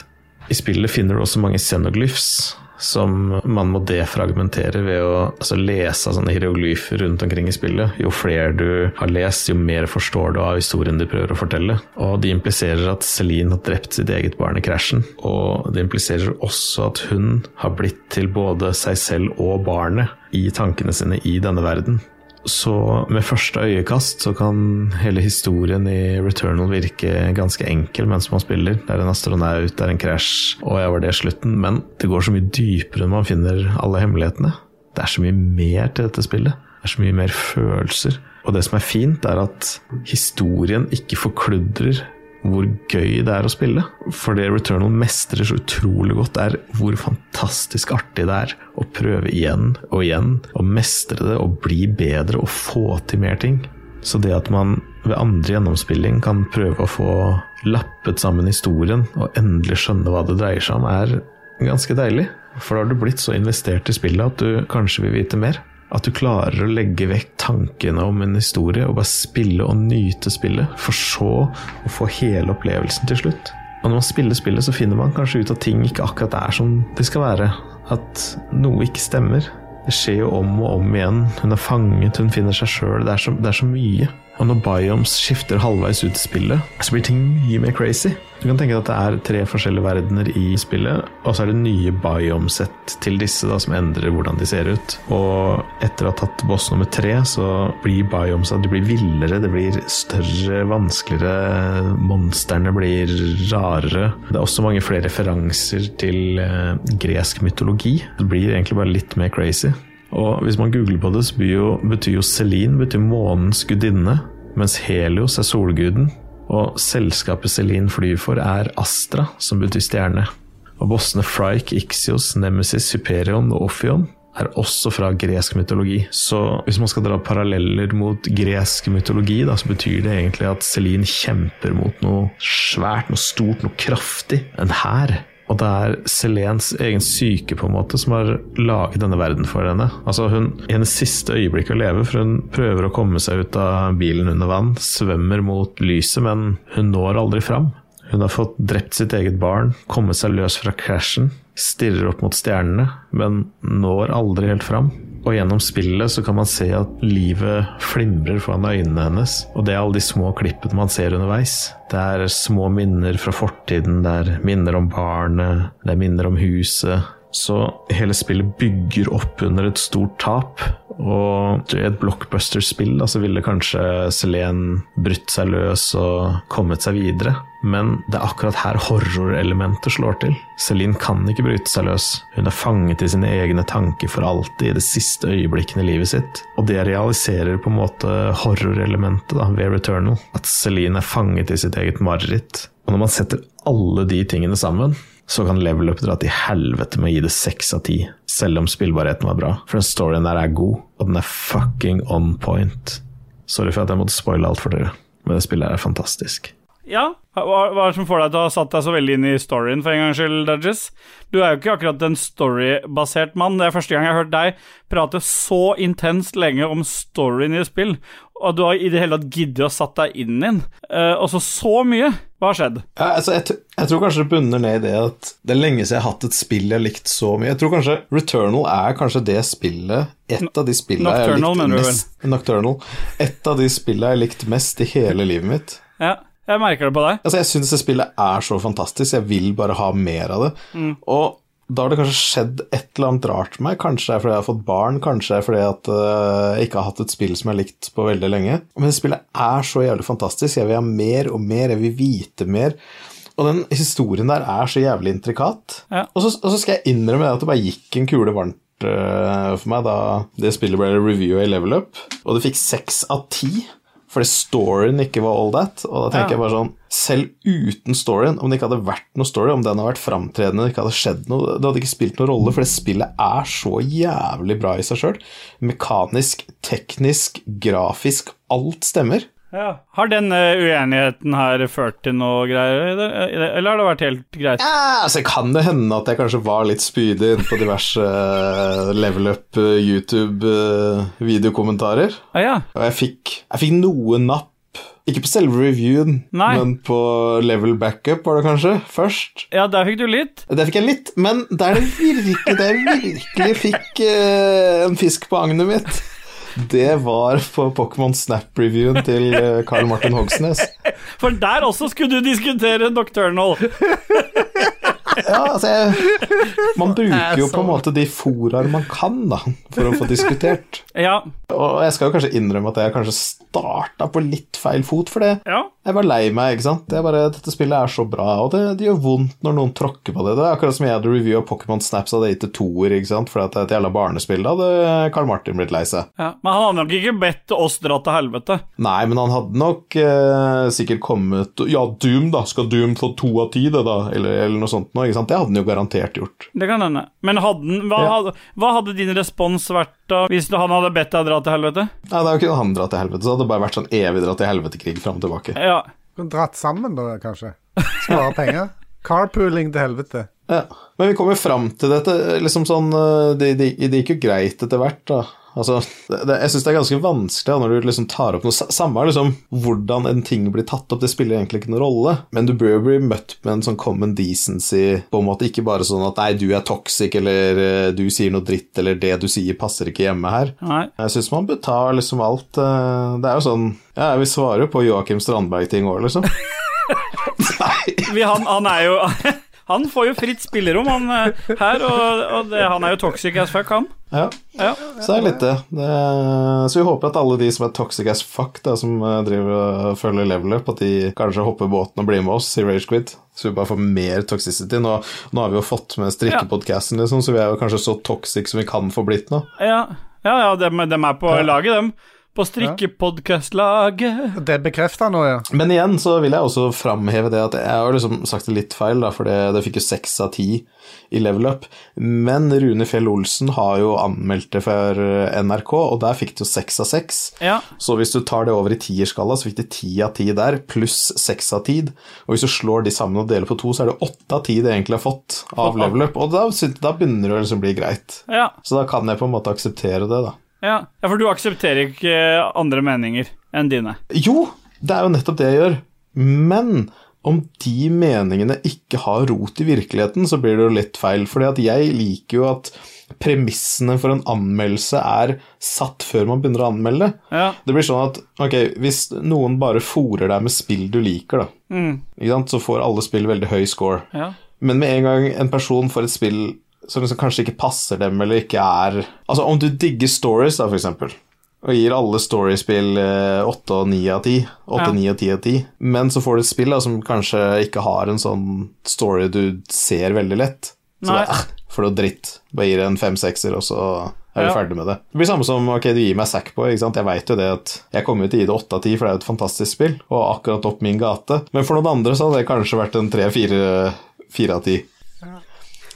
I: I spillet finner du også mange xenoglyphs som man må defragmentere ved å altså, lese av sånne hieroglyfer rundt omkring i spillet. Jo flere du har lest, jo mer forstår du av historien de prøver å fortelle. Og de impliserer at Celine har drept sitt eget barn i krasjen. Og det impliserer også at hun har blitt til både seg selv og barnet i tankene sine i denne verden. Så med første øyekast så kan hele historien i Returnal virke ganske enkel mens man spiller. Det er en astronaut, det er en krasj, og jeg var det slutten. Men det går så mye dypere når man finner alle hemmelighetene. Det er så mye mer til dette spillet. Det er så mye mer følelser. Og det som er fint, er at historien ikke forkludrer hvor gøy det er å spille. For det Returnal mestrer så utrolig godt, er hvor fantastisk artig det er å prøve igjen og igjen, og mestre det og bli bedre og få til mer ting. Så det at man ved andre gjennomspilling kan prøve å få lappet sammen historien og endelig skjønne hva det dreier seg om, er ganske deilig. For da har du blitt så investert i spillet at du kanskje vil vite mer. At du klarer å legge vekk tankene om en historie og bare spille og nyte spillet, for så å få hele opplevelsen til slutt. Og når man spiller spillet, så finner man kanskje ut at ting ikke akkurat er som de skal være. At noe ikke stemmer. Det skjer jo om og om igjen. Hun er fanget, hun finner seg sjøl. Det, er så- det er så mye. Og når biomes skifter halvveis ut i spillet, så blir ting mye mer crazy. Du kan tenke deg at det er tre forskjellige verdener i spillet, og så er det nye biomesett til disse da, som endrer hvordan de ser ut. Og etter å ha tatt boss nummer tre, så blir biomesa de blir villere, det blir større, vanskeligere, monstrene blir rarere. Det er også mange flere referanser til eh, gresk mytologi. Det blir egentlig bare litt mer crazy. Og hvis man googler på det, så betyr jo, betyr jo Celine betyr månens gudinne, mens Helios er solguden. Og selskapet Celine flyr for, er Astra, som betyr stjerne. Og bossene Frike, Ixios, Nemesis, Hyperion og Ophion er også fra gresk mytologi. Så hvis man skal dra paralleller mot gresk mytologi, da, så betyr det egentlig at Celine kjemper mot noe svært, noe stort, noe kraftig. En hær. Og det er Selens egen syke på en måte som har laget denne verden for henne. Altså hun, I hennes siste øyeblikk å leve, for hun prøver å komme seg ut av bilen under vann, svømmer mot lyset, men hun når aldri fram. Hun har fått drept sitt eget barn, kommet seg løs fra krasjen, stirrer opp mot stjernene, men når aldri helt fram. Og gjennom spillet så kan man se at livet flimrer foran øynene hennes. Og det er alle de små klippene man ser underveis. Det er små minner fra fortiden, det er minner om barnet, det er minner om huset. Så hele spillet bygger opp under et stort tap. Og i et blockbuster-spill da, så ville kanskje Selene brutt seg løs og kommet seg videre. Men det er akkurat her horrorelementet slår til. Celine kan ikke bryte seg løs. Hun er fanget i sine egne tanker for alltid i det siste øyeblikkene i livet sitt. Og det realiserer på en måte horrorelementet da, ved Returnal. At Celine er fanget i sitt eget mareritt. Og når man setter alle de tingene sammen, så kan level up dra til helvete med å gi det seks av ti. Selv om spillbarheten var bra. For den storyen der er god, og den er fucking on point. Sorry for at jeg måtte spoile alt for dere, men det spillet her er fantastisk.
A: Ja, hva, hva er det som får deg til å ha satt deg så veldig inn i storyen for en gangs skyld, Dudges? Du er jo ikke akkurat en storybasert mann. Det er første gang jeg har hørt deg prate så intenst lenge om storyen i et spill, og du har i det hele tatt giddet å satt deg inn i den. Eh, også så mye. Hva har skjedd?
D: Ja, altså, jeg, t jeg tror kanskje det bunner ned i det at det er lenge siden jeg har hatt et spill jeg har likt så mye. Jeg tror kanskje Returnal er kanskje det spillet Et av de spillene jeg har
A: Nocturnal,
D: likt
A: mener du vel?
D: mest Nocturnal. Et av de spillene jeg har likt mest i hele livet mitt.
A: Ja, jeg merker det på deg.
D: Altså, jeg syns det spillet er så fantastisk, jeg vil bare ha mer av det. Og da har det kanskje skjedd et eller annet rart med meg. Kanskje det er fordi jeg har fått barn, kanskje det er fordi at øh, jeg ikke har hatt et spill som jeg har likt på veldig lenge. Men spillet er så jævlig fantastisk. Jeg vil ha mer og mer, jeg vil vite mer. Og den historien der er så jævlig intrikat.
A: Ja.
D: Og, så, og så skal jeg innrømme det at det bare gikk en kule varmt øh, for meg da det spillet ble reviewa i Level Up, og det fikk seks av ti. Fordi storyen ikke var all that. Og da
A: Ja.
D: tenker jeg bare sånn Selv uten storyen, om det ikke hadde vært noe story, om den hadde vært framtredende, det ikke hadde skjedd noe, det hadde ikke spilt noen rolle, for det spillet er så jævlig bra i seg sjøl. Mekanisk, teknisk, grafisk, alt stemmer.
A: Ja. Har den eh, uenigheten her ført til noe greier, eller- eller har det vært helt greit?
D: Ja, altså Kan det hende at jeg kanskje var litt spydig inne på diverse eh, level up eh, YouTube-videokommentarer?
A: Ah, ja.
D: Og jeg fikk, jeg fikk noe napp. Ikke på selve reviewen,
A: Nei.
D: men på level backup, var det kanskje, først.
A: ja, der fikk du litt.
D: Der fikk jeg litt, men der det virkelig, der jeg virkelig fikk eh, en fisk på agnet mitt, det var på Pokémon Snap-reviewen til eh, Carl Martin Hogsnes.
A: For der også skulle du diskutere Nocturnal.
D: Ja, altså jeg, Man bruker jo på en måte de foraer man kan, da, for å få diskutert.
A: Ja.
D: Og jeg skal jo kanskje innrømme at jeg kanskje starta på litt feil fot for det.
A: ja.
D: Jeg var lei meg, ikke sant. Jeg bare, Dette spillet er så bra, og det, det gjør vondt når noen tråkker på det. Det er akkurat som jeg hadde reviewa Pokémon Snaps hadde gitt det toer, ikke sant, fordi at det er et jævla barnespill. Da hadde Carl Martin blitt lei seg.
A: Ja, Men han hadde nok ikke bedt oss dra til helvete.
D: Nei, men han hadde nok eh, sikkert kommet Ja, Doom, da. Skal Doom få to av ti, det, da? Eller, eller noe sånt noe, ikke sant. Det hadde han jo garantert gjort.
A: Det kan hende. Men hadde, han- hva,
D: Ja.
A: hadde, hva hadde din respons vært da hvis han hadde bedt deg dra til helvete?
D: Nei, da kunne han dratt til helvete. Så hadde det bare vært sånn evig dratt til helvete-krig fram og tilbake.
A: Ja.
C: Kan Dratt sammen, da, kanskje. Spare penger. Carpooling til helvete.
D: Ja. Men vi kommer fram til dette. liksom sånn, eh, Det det- det gikk jo greit etter hvert, da. Altså, det, det, jeg syns det er ganske vanskelig da, når du liksom tar opp noe Sa- Samme er liksom hvordan en ting blir tatt opp, det spiller egentlig ikke noen rolle. Men du bør jo bli møtt med en sånn common decency, på en måte ikke bare sånn at nei, du er toxic, eller eh, du sier noe dritt, eller det du sier passer ikke hjemme her.
A: Nei.
D: Jeg syns man bør ta liksom alt eh, Det er jo sånn Ja, vi svarer jo på Joakim Strandberg-ting òg, liksom. nei.
A: Vi, han, han er jo <laughs> Han får jo fritt spillerom, han eh, her, og, og det, han er jo toxic as fuck, han.
D: Ja.
A: Ja.
D: Så det er litt det. det. Så vi håper at alle de som er toxic as fuck, da, som eh, driver og følger level up, at de kanskje hopper båten og blir med oss i Rage Quit. Så vi bare får mer toxicity. Nå, nå har vi jo fått med strikkepodcasten, liksom, så vi er jo kanskje så toxic som vi kan få blitt nå.
A: Ja, ja, ja dem, dem er på laget, dem. På strikkepodkastlaget.
C: Det bekrefter han nå, ja.
D: Men igjen så vil jeg også framheve det at jeg har liksom sagt det litt feil, da, for det, det fikk jo seks av ti i level up. Men Rune Fjell Olsen har jo anmeldt det for NRK, og der fikk det jo seks av seks.
A: Ja.
D: Så hvis du tar det over i tierskala, så fikk det ti av ti der, pluss seks av ti. Og hvis du slår de sammen og deler på to, så er det åtte av ti det egentlig har fått av level up. Og da, syn- da begynner det å liksom bli greit.
A: Ja,
D: Så da kan jeg på en måte akseptere det, da.
A: ja. ja, for du aksepterer ikke eh, andre meninger enn dine.
D: Jo, det er jo nettopp det jeg gjør. Men om de meningene ikke har rot i virkeligheten, så blir det jo litt feil. Fordi at jeg liker jo at premissene for en anmeldelse er satt før man begynner å anmelde.
A: Ja.
D: Det blir sånn at ok, hvis noen bare fòrer deg med spill du liker, da, ikke sant? så får alle spill veldig høy score.
A: Mm. Ja.
D: Men med en gang en person får et spill som liksom kanskje ikke passer dem, eller ikke er Altså, om du digger stories, da, for eksempel, og gir alle storiespill eh, 8 og 9 av 10, 8,
A: Ja.
D: 9 og 10 av 10, men så får du et spill da, som kanskje ikke har en sånn story du ser veldig lett, så
A: Nei.
D: bare, "Ah, for noe dritt. Bare gir det en fem-sekser, og så er vi
A: Ja.
D: ferdig med det. Det blir samme som ok, du gir meg Sackboy. ikke sant? Jeg veit jo det at jeg kommer jo til å gi det åtte av ti, for det er jo et fantastisk spill, og akkurat opp min gate. Men for noen andre så hadde det kanskje vært en tre-fire av ti.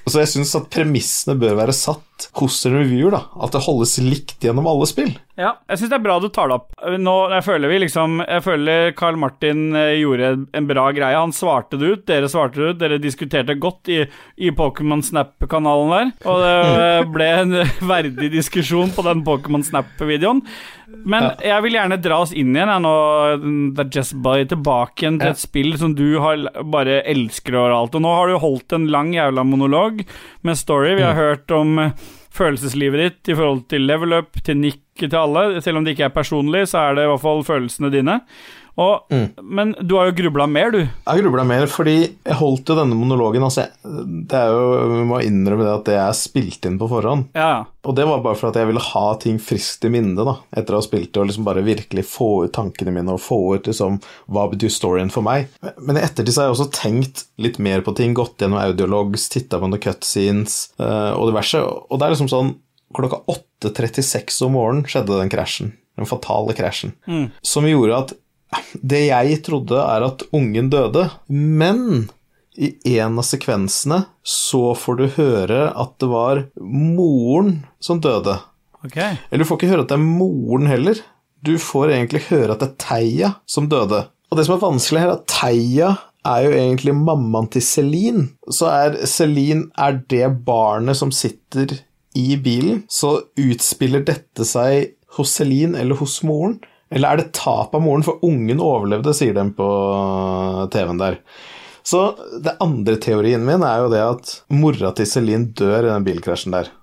D: Så jeg syns at premissene bør være satt sett hos reviewer, da, at det holdes likt gjennom alle spill.
A: Ja, jeg syns det er bra du tar det opp. Eh, Nå, jeg føler vi liksom Jeg føler Carl Martin eh, gjorde en bra greie. Han svarte det ut, dere svarte det ut, dere diskuterte godt i, i Pokémon Snap-kanalen der. Og det eh, ble en <laughs> verdig diskusjon på den Pokémon Snap-videoen. Men jeg vil gjerne dra oss inn igjen, jeg nå, The Just Buy, tilbake igjen til et spill som du har l- bare elsker overalt. Og nå har du holdt en lang jævla monolog med story. Vi har hørt om eh, følelseslivet ditt i forhold til level up, til nikk, til alle. Selv om det ikke er personlig, så er det i hvert fall følelsene dine. Og, Men du har jo grubla mer, du.
D: Jeg grubla mer, fordi jeg holdt jo denne monologen altså, jeg- Det er jo, Vi må innrømme det at det er spilt inn på forhånd.
A: Ja, ja.
D: Og det var bare for at jeg ville ha ting friskt i minne da, etter å ha spilt det, og liksom bare virkelig få ut tankene mine og få ut liksom, hva betyr storyen for meg. Men i ettertid så har jeg også tenkt litt mer på ting, gått gjennom audiologs, titta på noen cutscenes eh, og diverse. Og det er liksom sånn klokka 8.36 om morgenen skjedde den krasjen. Den fatale krasjen. Som gjorde at det jeg trodde er at ungen døde, men i en av sekvensene så får du høre at det var moren som døde.
A: Ok.
D: Eller du får ikke høre at det er moren heller. Du får egentlig høre at det er Theia som døde. Og det som er vanskelig her, er at Theia er jo egentlig mammaen til Celine. Så er Celine er det barnet som sitter i bilen. Så utspiller dette seg hos Celine eller hos moren? Eller er det tap av moren, for ungen overlevde, sier de på TV-en der. Så det andre teorien min er jo det at mora til Celine dør i den bilkrasjen der.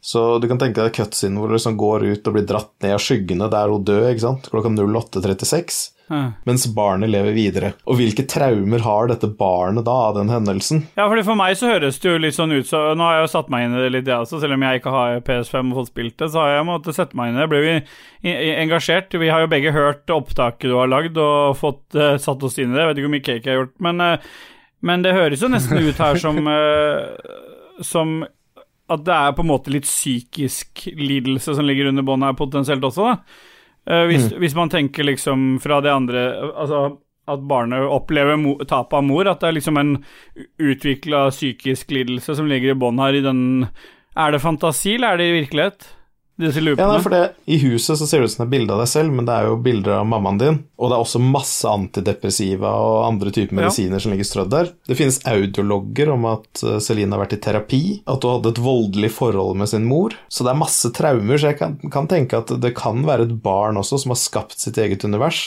D: Så du kan tenke deg cutscenen hvor du liksom går ut og blir dratt ned av skyggene der hun dør, ikke sant? klokka 08.36,
A: Ja.
D: mens barnet lever videre. Og hvilke traumer har dette barnet da av den hendelsen?
A: Ja, fordi For meg så høres det jo litt sånn ut så Nå har jeg jo satt meg inn i det litt, jeg også. Selv om jeg ikke har PS5 og fått spilt det, så har jeg måttet sette meg inn i det. Jeg ble jo i- i- engasjert. Vi har jo begge hørt opptaket du har lagd og fått eh, satt oss inn i det. Jeg vet ikke hvor mye cake jeg har gjort, men, eh, men det høres jo nesten ut her
D: <laughs>
A: som eh, Som at det er på en måte litt psykisk lidelse som ligger under båndet her, potensielt også, da. Eh, hvis,
D: Mm.
A: hvis man tenker liksom fra det andre Altså at barnet opplever mo tapet av mor, at det er liksom en utvikla psykisk lidelse som ligger i bånn her i den Er det fantasi, eller er det i virkelighet? Disse
D: Ja,
A: loopene?
D: nei, for det, I huset så ser det ut som det er bilde av deg selv, men det er jo bilder av mammaen din. Og det er også masse antidepressiva og andre typer medisiner som ligger strødd der. Det finnes audiologger om at eh, Celine har vært i terapi, at hun hadde et voldelig forhold med sin mor. Så det er masse traumer, så jeg kan, kan tenke at det kan være et barn også som har skapt sitt eget univers.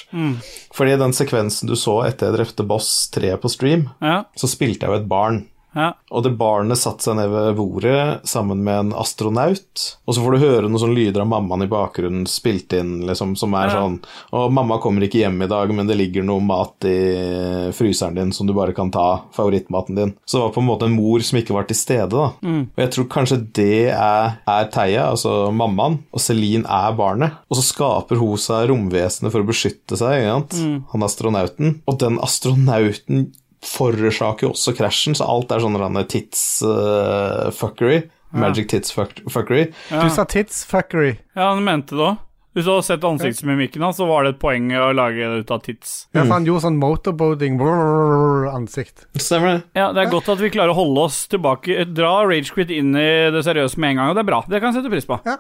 D: Fordi den sekvensen du så etter jeg drepte Boss 3 på stream,
A: ja,
D: så spilte jeg jo et barn.
A: ja.
D: Og det barnet satte seg ned ved bordet sammen med en astronaut. Og så får du høre noen sånne lyder av mammaen i bakgrunnen spilt inn, liksom, som er sånn Og mamma kommer ikke hjem i dag, men det ligger noe mat i fryseren din som du bare kan ta. Favorittmaten din. Så det var på en måte en mor som ikke var til stede, da. Og jeg tror kanskje det er, er Theia, altså mammaen, og Celine er barnet. Og så skaper hun seg romvesenet for å beskytte seg, ikke sant? han astronauten. Og den astronauten forårsaker jo også krasjen, så alt er sånn rande tits eh, fuckery. Magic tits fuck fuckery.
C: Du sa tidsfuckery.
A: ja, han mente det òg. Hvis du hadde sett ansiktsmimikken hans, så var det et poeng å lage det ut av tits.
C: Ja, for han gjorde sånn motorboating brrrr, ansikt.
D: Stemmer det?
A: Ja, Det er godt at vi klarer å holde oss tilbake. Dra Ragequit inn i det seriøse med en gang, og det er bra. Det kan jeg sette pris på.
D: Ja.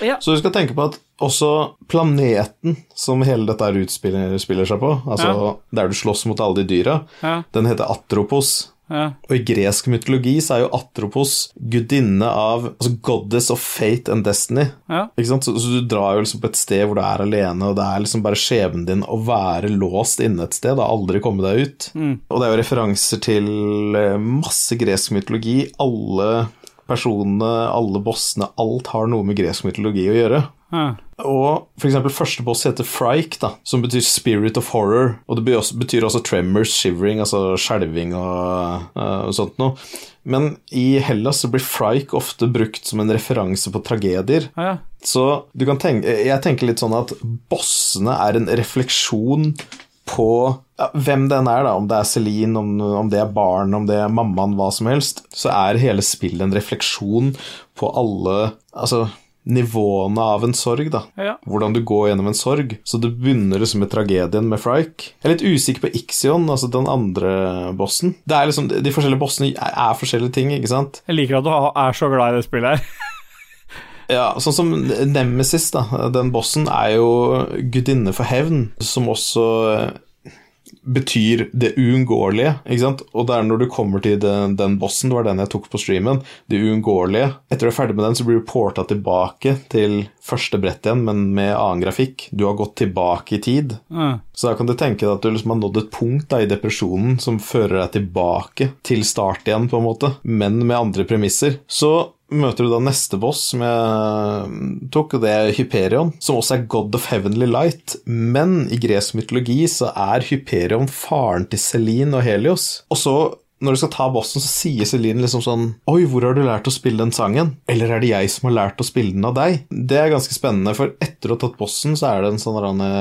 A: Ja.
D: Så du skal tenke på at også planeten som hele dette her utspiller spiller seg på, altså der du slåss mot alle de dyra,
A: Ja.
D: den heter Atropos.
A: Ja.
D: Og i gresk mytologi så er jo Atropos gudinne av altså Goddess of fate and destiny.
A: Ja.
D: Ikke sant? Så, så du drar jo liksom på et sted hvor du er alene, og det er liksom bare skjebnen din å være låst inne et sted og aldri komme deg ut. Og det er jo referanser til eh, masse gresk mytologi. Alle personene, alle bossene, alt har noe med gresk mytologi å gjøre.
A: Ja.
D: Og for eksempel første boss heter Frike, da, som betyr Spirit of Horror. Og det betyr også, betyr også tremors, shivering, altså skjelving og, eh, og sånt noe. Men i Hellas så blir Frike ofte brukt som en referanse på tragedier.
A: Ja.
D: Så du kan tenke, jeg tenker litt sånn at bossene er en refleksjon på ja, hvem den er, da. Om det er Celine, om, om det er barn, om det er mammaen, hva som helst. Så er hele spillet en refleksjon på alle Altså, nivåene av en sorg, da.
A: Ja.
D: Hvordan du går gjennom en sorg. Så det begynner liksom med tragedien med Frike. Jeg er litt usikker på Ixion, altså den andre bossen. Det er liksom, De forskjellige bossene er, er forskjellige ting, ikke sant?
A: Jeg liker at du ha- er så glad i det spillet her. <laughs>
D: Ja, sånn som Nemesis, da. Den bossen er jo gudinne for hevn, som også eh, betyr det uunngåelige, ikke sant? Og det er når du kommer til den, den bossen, det var den jeg tok på streamen, det uunngåelige. Etter du er ferdig med den, så blir du porta tilbake til første brett igjen, men med annen grafikk. Du har gått tilbake i tid.
A: Mm.
D: Så da kan du tenke deg at du liksom har nådd et punkt da, i depresjonen som fører deg tilbake til start igjen, på en måte, men med andre premisser. Så møter du da neste boss som jeg mm, tok, og det er Hyperion, som også er god of heavenly light. Men i gresk mytologi så er Hyperion faren til Celine og Helios. Og så når du skal ta bossen, så sier Celine liksom sånn Oi, hvor har du lært å spille den sangen? Eller er det jeg som har lært å spille den av deg? Det er ganske spennende, for etter å ha tatt bossen, så er det en sånn der,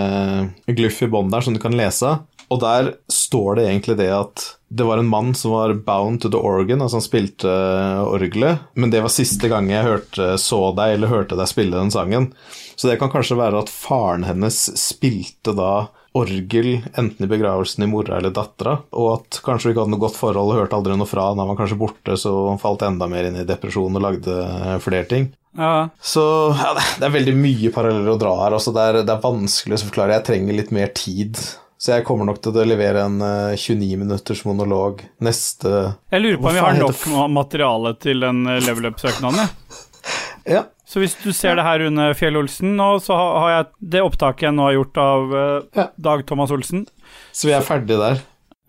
D: eh, glyff i bånd der som du kan lese. Og der står det egentlig det at det var en mann som var bound to the organ, altså han spilte eh, orgelet, men det var siste gang jeg hørte, så deg eller hørte deg spille den sangen. Så det kan kanskje være at faren hennes spilte da orgel enten i begravelsen i mora eller dattera, og at kanskje hun ikke hadde noe godt forhold og hørte aldri noe fra han, han var kanskje borte, så han falt enda mer inn i depresjon og lagde eh, flere ting.
A: Ja.
D: Så ja, det det er veldig mye paralleller å dra her. Altså, det, er, det er vanskelig å forklare. Jeg trenger litt mer tid. Så jeg kommer nok til å levere en eh, 29 minutters monolog neste
A: Jeg lurer på om
D: Hva
A: vi
D: faen
A: har
D: heter
A: nok ma- materiale til den eh, level up-søknaden. jeg.
D: Ja.
A: Så hvis du ser det her under Fjell-Olsen nå, så ha- har jeg det opptaket jeg nå har gjort av eh,
D: Ja.
A: Dag Thomas Olsen.
D: Så vi er ferdige der.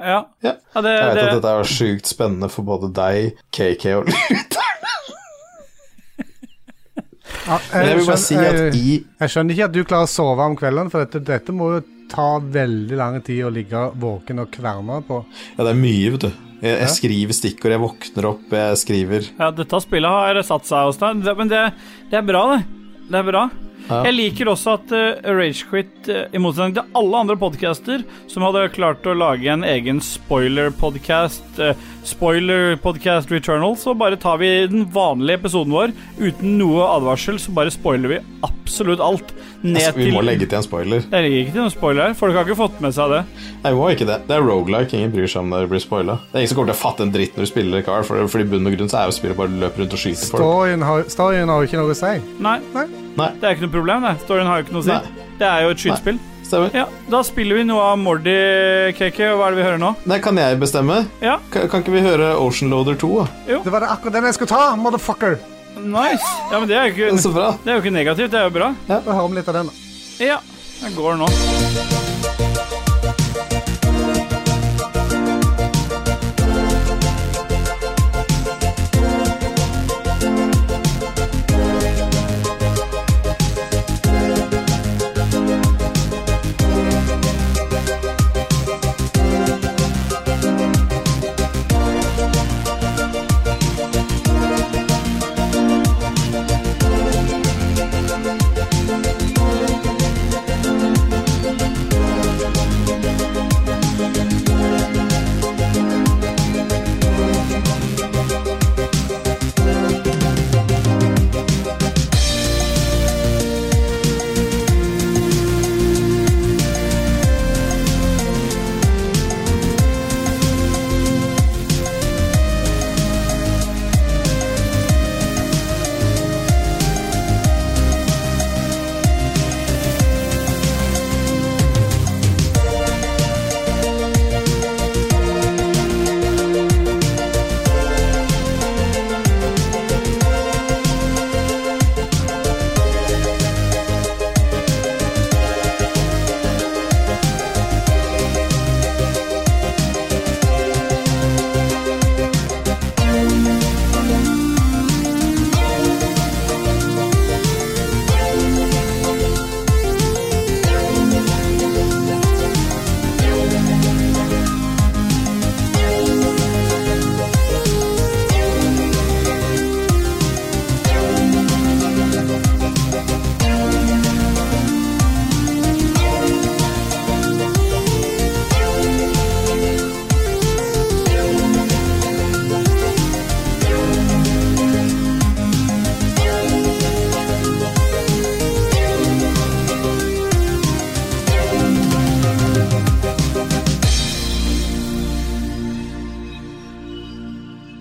A: Ja.
D: Ja.
A: det,
D: Jeg vet at
A: det,
D: dette er sjukt spennende for både deg, KK og lytteren.
C: Ja,
D: Men <laughs> jeg vil bare
C: skjønner-
D: si at i
C: Jeg skjønner ikke at du klarer å sove om kvelden, for dette, dette må jo ta veldig lang tid å ligge våken og kverne på.
D: Ja, det er mye, vet du. Jeg, jeg skriver stikkord, jeg våkner opp, jeg skriver
A: ja, dette spillet har satt seg hos deg, Det- men det, det er bra, det. Det er bra.
D: Ja.
A: Jeg liker også at eh, Ragequit, eh, i motsetning til alle andre podcaster, som hadde klart å lage en egen spoiler-podcast, eh, spoiler-podcast Returnal, så bare tar vi den vanlige episoden vår uten noe advarsel, så bare spoiler vi absolutt alt. Ned
D: altså, Vi må
A: til
D: legge til en spoiler.
A: Det ligger ikke til noen spoiler her. Folk har ikke fått med seg det.
D: Nei, vi må ikke det. Det er rogelike. Ingen bryr seg om det blir spoila. Det er ingen som kommer til å fatte en dritt når du spiller Car, for, for i bunn og grunn så er jo spillet bare du løper rundt og skyter folk.
C: Storyen har, storyen har jo ikke noe å si.
A: Nei,
D: Nei,
A: det er ikke noe problem, det. Storyen har jo ikke noe å si.
D: Nei.
A: Det er jo et skytespill.
D: stemmer.
A: Ja, da spiller vi noe av Mordy, KK. Hva er det vi hører nå?
D: Nei, kan jeg bestemme?
A: Ja.
D: Kan, kan ikke vi høre Ocean Loader 2? Da?
C: Det var det akkurat den jeg skulle ta, motherfucker!
A: Nice! Ja, men det er jo ikke,
D: Så bra.
A: det er jo ikke negativt, det er jo bra.
C: Vi hører om litt av den. da.
A: Ja, jeg går nå.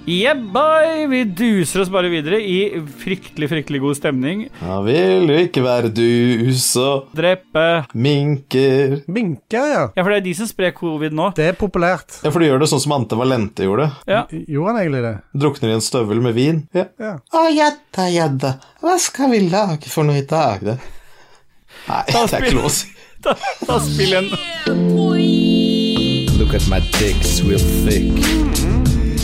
A: Yeah, boy! Vi duser oss bare videre i fryktelig, fryktelig god stemning.
D: Han vil ikke være dus og
A: Drepe
D: minker
C: Minker, ja.
A: Ja, for det er de som sprer covid nå.
C: Det er populært.
D: Ja, for du gjør det sånn som Ante Valente gjorde.
A: Ja.
C: Gjorde han egentlig det?
D: Drukner i en støvel med vin. Ja.
C: Ja.
D: Å, gjedda, gjedda, hva skal vi lage for noe i dag, da? Nei, det er ikke lov å si.
A: Da, da spill en
K: Look at my dick's real thick.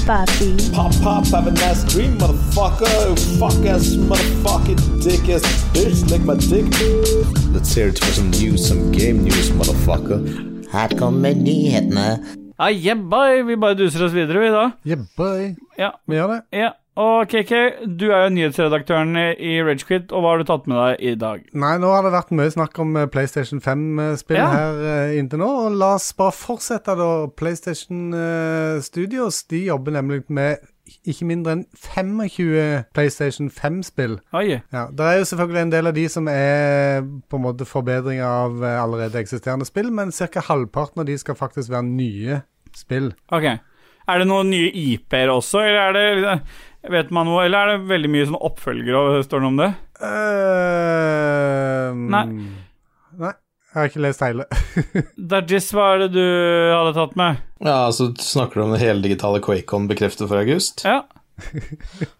F: Papi,
K: Pop, pop, have a nice dream, motherfucker. Fuck ass, motherfucking dick ass bitch, lick my dick. Let's hear it for some news, some game news, motherfucker.
H: Her kommer nyhetene.
A: Ja, yeah, boy! Vi bare duser oss videre, vi da.
C: Yeah, boy.
A: Ja.
C: Vi gjør det.
A: ja. Og KK, du er jo nyhetsredaktøren i Ragequit, og hva har du tatt med deg i dag?
C: Nei, nå har det vært mye snakk om eh, PlayStation 5-spill
A: Ja.
C: her eh, inntil nå. Og la oss bare fortsette, da. PlayStation eh, Studios de jobber nemlig med ikke mindre enn 25 PlayStation 5-spill.
A: Oi.
C: Ja, Det er jo selvfølgelig en del av de som er på en måte forbedringer av eh, allerede eksisterende spill, men ca. halvparten av de skal faktisk være nye spill.
A: Ok. Er det noen nye IP-er også, eller er det Vet man noe, eller er det veldig mye sånn oppfølgere og står det noe om det?
C: Uh,
A: Nei.
C: Nei, jeg har ikke lest hele. <laughs>
A: Dajis, hva er det du hadde tatt med?
D: Ja, så snakker du om det heldigitale QuakeCon bekreftet for august.
A: Ja.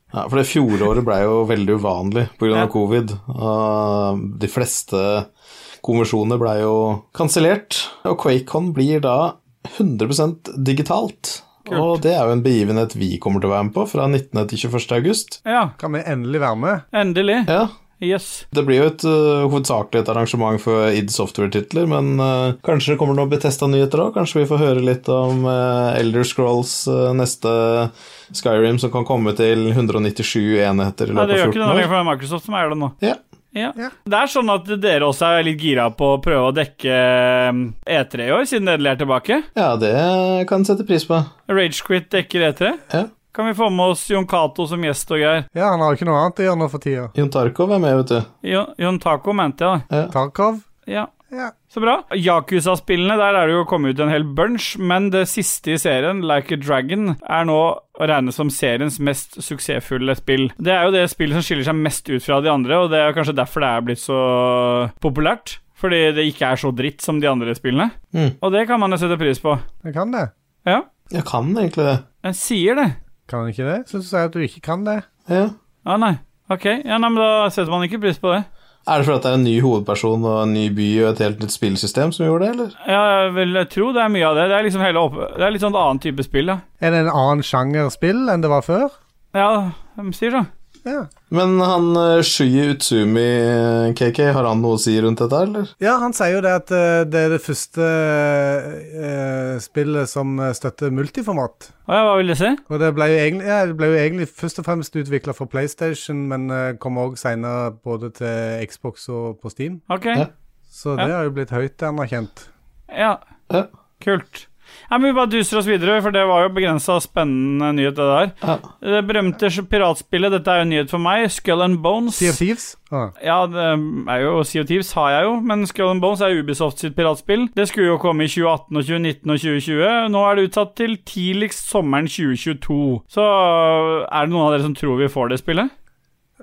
D: Ja, for det fjoråret ble jo veldig uvanlig pga.
A: Ja.
D: av covid. Og de fleste konvensjoner ble jo kansellert, og QuakeCon blir da 100 digitalt. Og det er jo en begivenhet vi kommer til å være med på fra 19. til 21. august.
A: Ja,
C: Kan vi endelig være med?
A: endelig.
D: Ja,
A: Jøss.
D: det blir jo et øh, hovedsakelig et arrangement for id Software-titler, men øh, kanskje det kommer noen Betesta-nyheter òg? Kanskje vi får høre litt om øh, Elder Scrolls, øh, neste Skyrim, som kan komme til 197 enheter i
A: Nei, det
D: løpet
A: gjør
D: av
A: ikke noe lenger,
D: 14 år?
A: for det er Microsoft som eier det nå.
D: Ja.
A: Ja.
C: Ja.
A: Det er sånn at dere også er litt gira på å prøve å dekke um, E3 i år, siden dere er tilbake.
D: Ja, det kan jeg sette pris på.
A: Ragequit dekker E3.
D: Ja.
A: Kan vi få med oss Jon Cato som gjest og greier?
C: Ja, han har jo ikke noe annet å gjøre nå for tida.
D: Jon Tarkov er med, vet du.
A: Jo- Jon Taco mente jeg, da.
C: Tarkov?
A: Ja.
C: Ja.
A: Så bra. Yakuza-spillene, der er det jo kommet ut en hel bunch, men det siste i serien, Like a Dragon, er nå å regne som seriens mest suksessfulle spill. Det er jo det spillet som skiller seg mest ut fra de andre, og det er kanskje derfor det er blitt så populært. Fordi det ikke er så dritt som de andre spillene.
D: Mm.
A: Og det kan man jo sette pris på.
C: Jeg kan det.
A: Ja,
D: Jeg kan egentlig det.
A: en sier det.
C: Kan han ikke det? Syns du sier at du ikke kan det?
D: Ja.
A: Ja, Ah, nei. Ok, ja, nei, men da setter man ikke pris på det.
D: Er det fordi det er en ny hovedperson og en ny by og et helt nytt spillsystem som gjorde det, eller?
A: Ja, jeg vil tro det er mye av det. Det er liksom hele opp... Det er litt sånn annen type spill, da.
C: Er det en annen sjanger spill enn det var før?
A: Ja, de sier det.
C: Ja.
D: Men han eh, Shuyi Utsumi, eh, KK, har han noe å si rundt dette, eller?
C: ja, han sier jo det at eh, det er det første eh, spillet som eh, støtter multiformat.
A: Å ja, hva vil det si?
C: Og det ble jo egentlig, ja, det ble jo egentlig først og fremst utvikla for PlayStation, men eh, kom òg seinere både til Xbox og på Steam.
A: Ok.
D: Ja.
C: Så
A: Ja.
C: det har jo blitt høyt anerkjent.
A: Ja,
D: Ja.
A: kult. Nei, men Vi bare duser oss videre, for det var jo begrensa spennende nyhet. Det der
D: Ja.
A: Det berømte piratspillet, dette er jo en nyhet for meg, Skull and Bones.
C: Sea of Thieves? Ah.
A: Ja, det er jo Sea of Thieves har jeg jo, men Skull and Bones er Ubisoft sitt piratspill. Det skulle jo komme i 2018 og 2019 og 2020. Nå er det utsatt til tidligst sommeren 2022. Så er det noen av dere som tror vi får det spillet?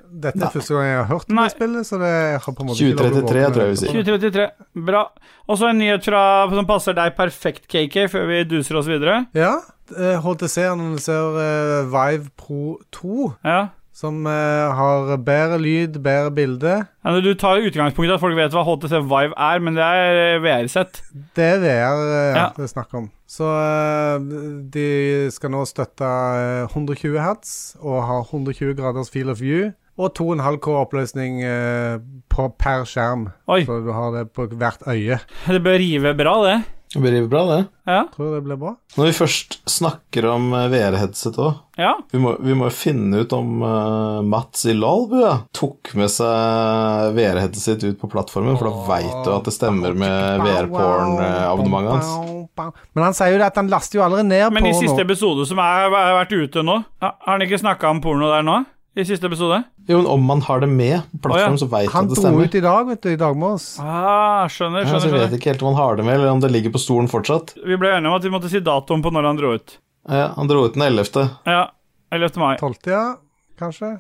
C: Dette er første gang jeg har hørt om
A: Nei.
C: det spillet, så det har på en måte ikke lov å
D: 2033,
C: åpne
D: tror jeg vi
C: dette.
D: sier.
A: 2033. Bra. Og så en nyhet fra, som passer deg perfekt, KK, før vi duser oss videre.
C: Ja. eh, HTC annonserer eh, Vive Pro 2,
A: Ja
C: som eh, har bedre lyd, bedre bilde.
A: Ja, men du tar utgangspunktet at folk vet hva HTC Vive er, men det er eh, VR-sett.
C: Det er VR eh,
A: Ja.
C: det er snakk om. Så eh, de skal nå støtte eh, 120 hertz og ha 120 graders field of view. Og 2,5K oppløsning eh, på, per skjerm,
A: Oi,
C: så du har det på hvert øye.
A: <laughs> det bør rive bra, det.
D: Det blir bra, det.
A: Ja.
C: Tror du det blir bra?
D: Når vi først snakker om eh, VR-headset òg,
A: ja.
D: vi må vi må jo finne ut om eh, Mats i Lolbu ja, tok med seg VR-headsetet sitt ut på plattformen, for da veit du at det stemmer med VR-porn-abonnementet eh, hans.
C: hans. Men han sier jo det at han laster jo allerede ned
A: Men i
C: på
A: siste
C: nå.
A: episode som er- har vært ute nå, ja, har han ikke snakka om porno der nå? I siste episode?
D: Jo, men om man har det med på plattformen,
A: Å,
D: så veit
C: Han
D: at det
C: dro
D: stemmer.
C: ut i dag, vet du, i dag morges.
A: Ah, skjønner,
D: Ja, så
A: skjønner.
D: jeg vet
A: skjønner.
D: ikke helt om han har det med, eller om det ligger på stolen fortsatt.
A: Vi ble enige om at vi måtte si datoen på når han dro ut.
D: Ja, han dro ut den 11.
A: Ja. 11. mai.
C: 12. ja, kanskje?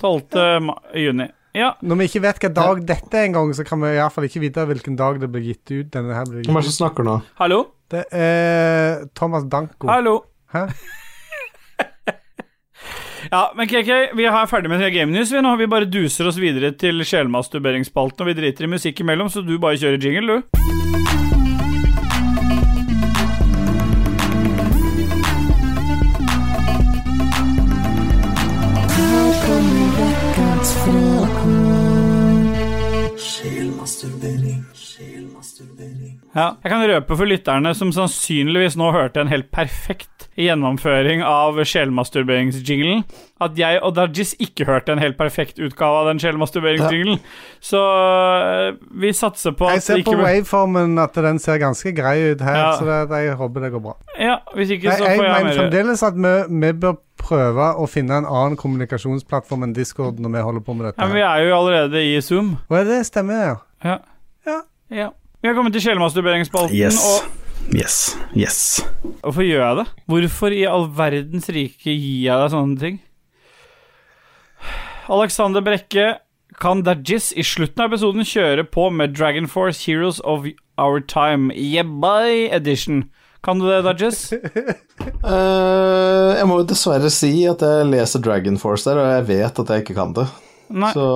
A: 12. ma- juni. Ja.
C: Når vi ikke vet hvilken dag dette er engang, så kan vi iallfall ikke vite hvilken dag det blir gitt ut. Denne her blir gitt
D: Hvem er det
C: ut.
D: som snakker nå?
A: Hallo?
C: Det er Thomas Danko.
A: Hallo?
C: Hæ?
A: Ja, men KK, vi er ferdig med Game News. Vi nå vi bare duser oss videre til sjelmasturberingsspalten, og vi driter i musikk imellom, så du bare kjører jingle, du.
F: Her kommer ukas frokost.
A: Ja. Jeg kan røpe for lytterne som sannsynligvis nå hørte en helt perfekt gjennomføring av sjelmasturberingsjinglen, at jeg og Dajis ikke hørte en helt perfekt utgave av den sjelmasturberingsjinglen. Så øh, vi satser på
C: Jeg
A: at
C: ser
A: det
C: på
A: ikke
C: waveformen at den ser ganske grei ut her,
A: Ja.
C: så det, jeg håper det går bra.
A: Ja, hvis ikke
C: Jeg,
A: så
C: jeg
A: får jeg
C: mener
A: mer
C: fremdeles at vi, vi bør prøve å finne en annen kommunikasjonsplattform enn Discord når vi holder på med
A: Ja, men
C: dette. her.
A: vi er jo allerede i Zoom.
C: Og det stemmer, ja.
A: Ja.
C: Ja.
A: Vi har kommet til sjelmasturberingsspalten,
B: Yes.
A: og
B: Yes. Yes.
A: Hvorfor gjør jeg det? Hvorfor i all verdens rike gir jeg deg sånne ting? Alexander Brekke, kan Dajis i slutten av episoden kjøre på med Dragon Force Heroes of Our Time Yebai Edition? Kan du det, Dajis?
C: <laughs>
D: Eh, jeg må jo dessverre si at jeg leser Dragon Force der, og jeg vet at jeg ikke kan det.
A: Nei.
D: Så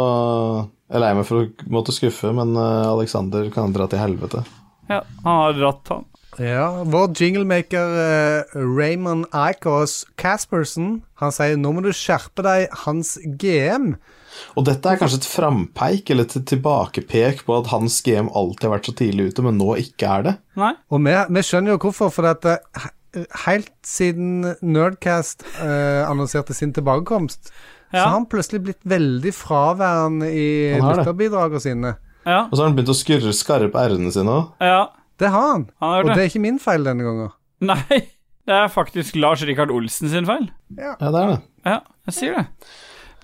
D: jeg er lei meg for å måtte skuffe, men eh, Alexander kan dra til helvete.
A: Ja, han har dratt, han.
C: Ja, Vår jinglemaker eh, Raymond Eikås Caspersen Han sier nå må du skjerpe deg, hans GM.
D: Og dette er kanskje et frampeik eller et tilbakepek på at hans GM alltid har vært så tidlig ute, men nå ikke er det.
A: Nei?
C: Og vi, vi skjønner jo hvorfor, for at eh, he- helt siden Nerdcast eh, annonserte sin tilbakekomst, så
A: Ja.
C: har han plutselig blitt veldig fraværende i
D: Han har det.
C: lytterbidragene sine.
A: Ja.
D: Og så har han begynt å skurre skarpe r-ene sine òg.
A: ja.
C: Det har han,
A: Han har
C: og
A: gjort
C: det
A: det.
C: er ikke min feil denne gangen.
A: Nei. Det er faktisk Lars Rikard Olsen sin feil.
D: Ja, det er det.
A: Ja, jeg sier det.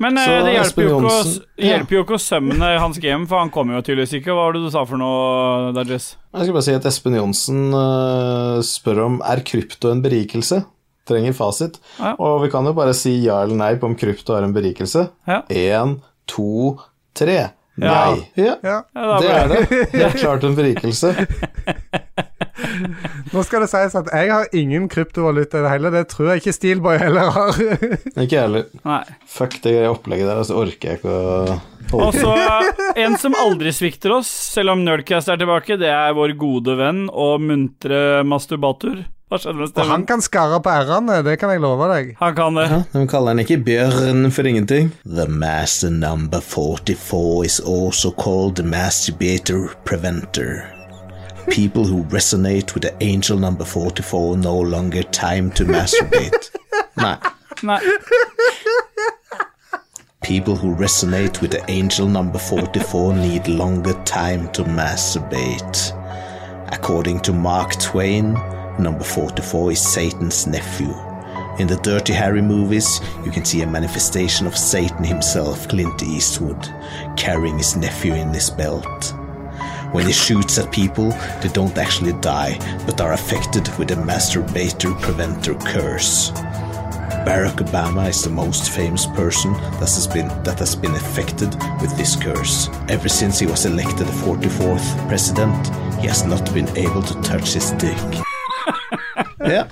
A: Men
D: Så
A: eh, det hjelper
D: Espen
A: jo, ikke å,
D: Johnsen- Ja.
A: hjelper jo ikke å sømme hans game, for han kommer jo tydeligvis ikke. Hva var det du sa for noe, Dajis?
D: Jeg skal bare si at Espen Johnsen eh, spør om er krypto en berikelse. Trenger fasit.
A: Ja.
D: Og vi kan jo bare si ja eller nei på om krypto er en berikelse.
A: Ja.
D: Én, to, tre.
A: Ja.
D: Nei. Ja.
C: Ja.
A: Ja, da
D: Det
A: ble-
D: er det. Helt klart en berikelse.
C: Nå skal det sies at jeg har ingen kryptovaluta i det hele, det tror jeg ikke Steelboy heller har.
D: Ikke jeg heller.
A: Nei.
D: Fuck det opplegget der, altså orker jeg ikke å
A: Og
D: holde på.
A: så eh, en som aldri svikter oss, selv om Nerdcast er tilbake, det er vår gode venn og muntre masturbator. Hva skjedde med
C: Og han
A: stemmen?
C: kan skarre på r-ene, det kan jeg love deg.
A: Han kan det.
I: De kaller den ikke Bjørn for ingenting.
H: The master number 44 is also called the masturbator preventer. People who resonate with the angel number 44 no longer time
A: <laughs>
H: to masturbate.
I: Nei.
A: Nei.
H: People who resonate with the angel number 44 need longer time to masturbate. According to Mark Twain, number 44 is Satan's nephew. In the Dirty Harry movies, you can see a manifestation of Satan himself, Clint Eastwood, carrying his nephew in his belt. When he shoots at people, they don't actually die, but are affected with the masturbator preventer curse. Barack Obama is the most famous person that has been that has been affected with this curse. Ever since he was elected the 44th president, he has not been able to touch his dick.
D: Ja.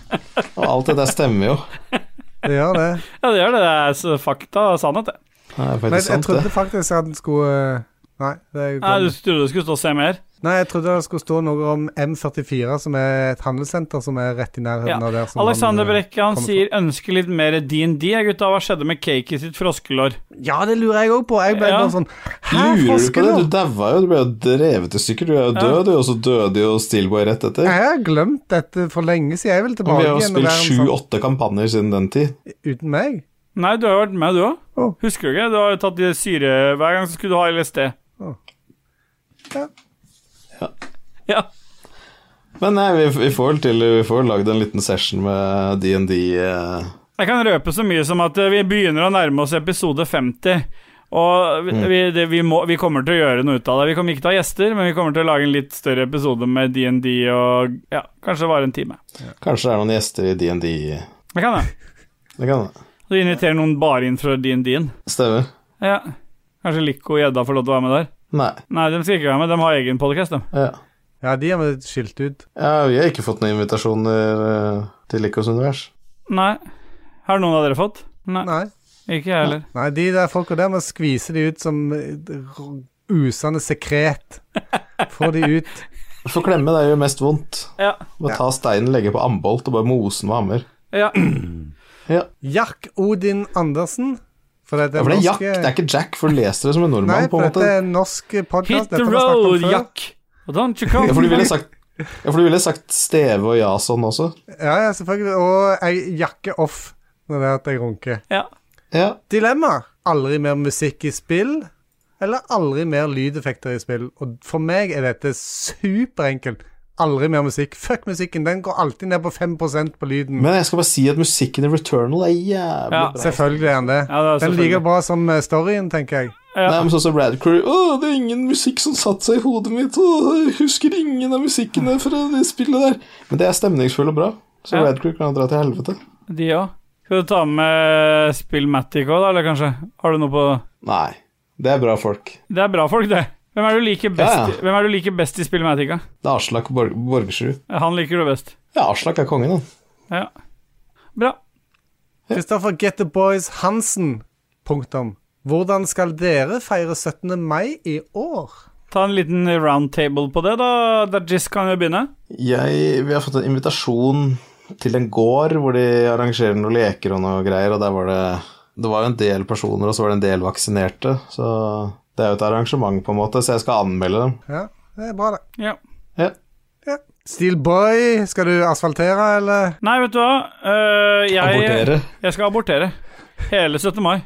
D: Og alt det der stemmer jo.
C: Det gjør det.
A: Ja, det gjør det. Det er så fakta og sannhet, det.
D: Det er
C: Men
D: faktisk
C: jeg
D: sant, det.
C: trodde faktisk at den skulle eh, Nei, det er jo
A: Nei, du trodde det skulle stå se mer?
C: Nei, jeg trodde det skulle stå noe om M44, som er et handelssenter som er rett i nærheten
A: Ja.
C: av der. Som
A: Alexander
C: han, eh,
A: Brekke han
C: kommer
A: sier 'ønsker litt mer DND', ja, gutta. Hva skjedde med Cakey sitt froskelår?
C: Ja, det lurer jeg òg på. Jeg ble
A: Ja.
C: bare sånn Hæ,
D: Lurer du på det?
C: froskelår?
D: Du daua jo, du ble jo revet i stykker. Du er jo død, du, og så døde jo Steelboy rett etter.
C: Jeg har glemt dette for lenge siden. Jeg vil
D: Og
C: tilbake
D: vi har jo
C: igjen og
D: spilt
C: være en sånn
D: sju-åtte kampanjer siden den tid.
C: uten meg.
A: Nei, du har jo vært med, du òg.
C: Å.
A: Husker du ikke? Du har jo tatt de syre Hver gang så skulle du ha LSD.
C: Ja.
A: Ja.
D: Men nei, vi, vi får vel til Vi får vel lagd en liten session med DND. eh.
A: Jeg kan røpe så mye som at eh, vi begynner å nærme oss episode 50. Og vi, vi, det, vi, må, vi kommer til å gjøre noe ut av det. Vi kommer ikke til å ha gjester, men vi kommer til å lage en litt større episode med DND og ja, kanskje bare en time.
D: Kanskje det er noen gjester i DND.
A: Det kan jeg.
D: Det kan det.
A: Du inviterer noen bare inn fra DND-en.
D: Stemmer.
A: Ja. Kanskje Lico og Gjedda får lov til å være med der?
D: Nei.
A: Nei, de skal ikke være med. De har egen podkast, de.
D: Ja.
C: Ja, de er vel skilt ut.
D: ja, vi har ikke fått noen invitasjoner eh, til Likos univers.
A: Nei. Har noen av dere fått? Nei.
C: Nei.
A: Ikke jeg heller.
C: Nei, de der folka der må skvise de ut som eh, r- usende sekret. Få de ut.
D: For klemme det gjør mest vondt.
A: Ja.
D: Må ta steinen, legge på ambolt og bare mose den med hammer.
A: ja.
C: Jack Odin Andersen. For det
D: Ja, for det er Jack, det er ikke Jack, for du leser det som
C: Nei,
D: en nordmann, på
C: for
D: en
C: dette
D: måte.
C: er en norsk podkast.
A: Hit the road, Jack. Don't you come
D: Ja, for du ville sagt ja, for du ville sagt Steve og Jason også.
C: Ja, ja, selvfølgelig. Og ei jakke off når det er at jeg runker.
A: Ja.
D: Ja.
C: Dilemma. Aldri mer musikk i spill, eller aldri mer lydeffekter i spill. Og for meg er dette superenkelt. Aldri mer musikk. Fuck musikken. Den går alltid ned på 5 på lyden.
D: Men jeg skal bare si at musikken i Returnal er jævlig
A: Ja.
D: bra.
C: selvfølgelig er den det.
A: Ja, det er
C: den er
A: selvfølgelig.
C: like bra som eh, storyen, tenker jeg.
D: Nei, men sånn som Rad Crew Å, det er ingen musikk som satte seg i hodet mitt. Å, jeg husker ingen av musikken der fra det spillet der. Men det er stemningsfullt og bra. Så
A: Mm. Ja.
D: Rad Crew kan dra til helvete.
A: De òg. Skal du ta med Spillmatic òg, da, eller kanskje? Har du noe på
D: Nei. Det er bra folk.
A: Det er bra folk, det. Hvem er du liker best,
D: Ja, ja.
A: Hvem er du liker best i Spillmatic? da?
D: Det er Aslak Borg Borgersrud.
A: Han liker du best.
D: Ja, Aslak er kongen, han.
A: Ja. Bra.
C: Kristoffer Get the Boys Hansen. Punktum. Hvordan skal dere feire 17. mai i år?
A: Ta en liten roundtable på det, da. Dajis kan jo begynne.
D: Jeg, vi har fått en invitasjon til en gård hvor de arrangerer noen leker og noe greier, og der var det Det var jo en del personer, og så var det en del vaksinerte, så det er jo et arrangement, på en måte, så jeg skal anmelde dem.
C: Ja, det er bra, det.
A: Ja.
D: Ja.
C: Ja. Steelboy, skal du asfaltere, eller?
A: Nei, vet du hva. Øh, jeg,
D: Abortere.
A: Jeg skal abortere. Hele 17. mai.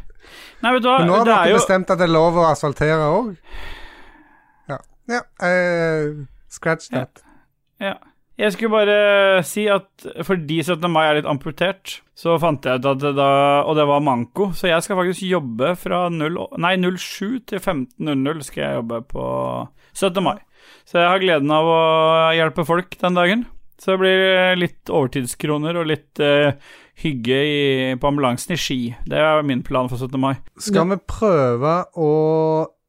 A: Nei, vet du hva.
C: Men nå har
A: Det er
C: dere
A: jo
C: bestemt at det er lov å asfaltere òg. Ja. ja eh, scratch that.
A: ja. Jeg skulle bare si at fordi 17. mai er litt amputert, så fant jeg ut at det da Og det var manko, så jeg skal faktisk jobbe fra 0, nei, 07 til 15.00 skal jeg jobbe på 17. mai. Så jeg har gleden av å hjelpe folk den dagen. Så det blir litt overtidskroner og litt eh, hygge i, på ambulansen i Ski. Det er min plan for 17. mai.
C: Skal vi prøve å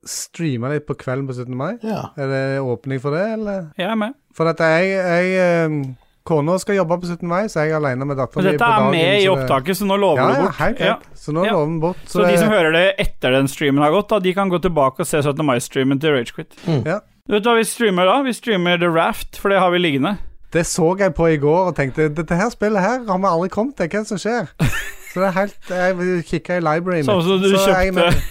C: streame litt på kvelden på 17. mai?
D: Ja.
C: Er det åpning for det, eller?
A: Jeg er med.
C: For at jeg, jeg eh, Kona skal jobbe på 17. mai, så jeg er alene med
A: Men
C: datteren min
A: dette
C: på
A: er
C: dagen.
A: med i
C: så det-
A: opptaket, så nå lover
C: Ja,
A: du
C: ja,
A: bort.
C: helt
A: Ja.
C: greit. Så nå
A: Ja.
C: lover vi bort.
A: Så de som hører det etter den streamen har gått, da, de kan gå tilbake og se 17. mai-streamen til Ragequit.
C: Ja.
A: Vet du hva vi streamer da? Vi streamer The Raft, for det har vi liggende.
C: Det så jeg på i går og tenkte dette her spillet her har vi aldri kommet til. Hva er det som skjer? Så det er helt Jeg kikka i libraryen
A: Samme som du
C: så jeg
A: kjøpte
C: mener-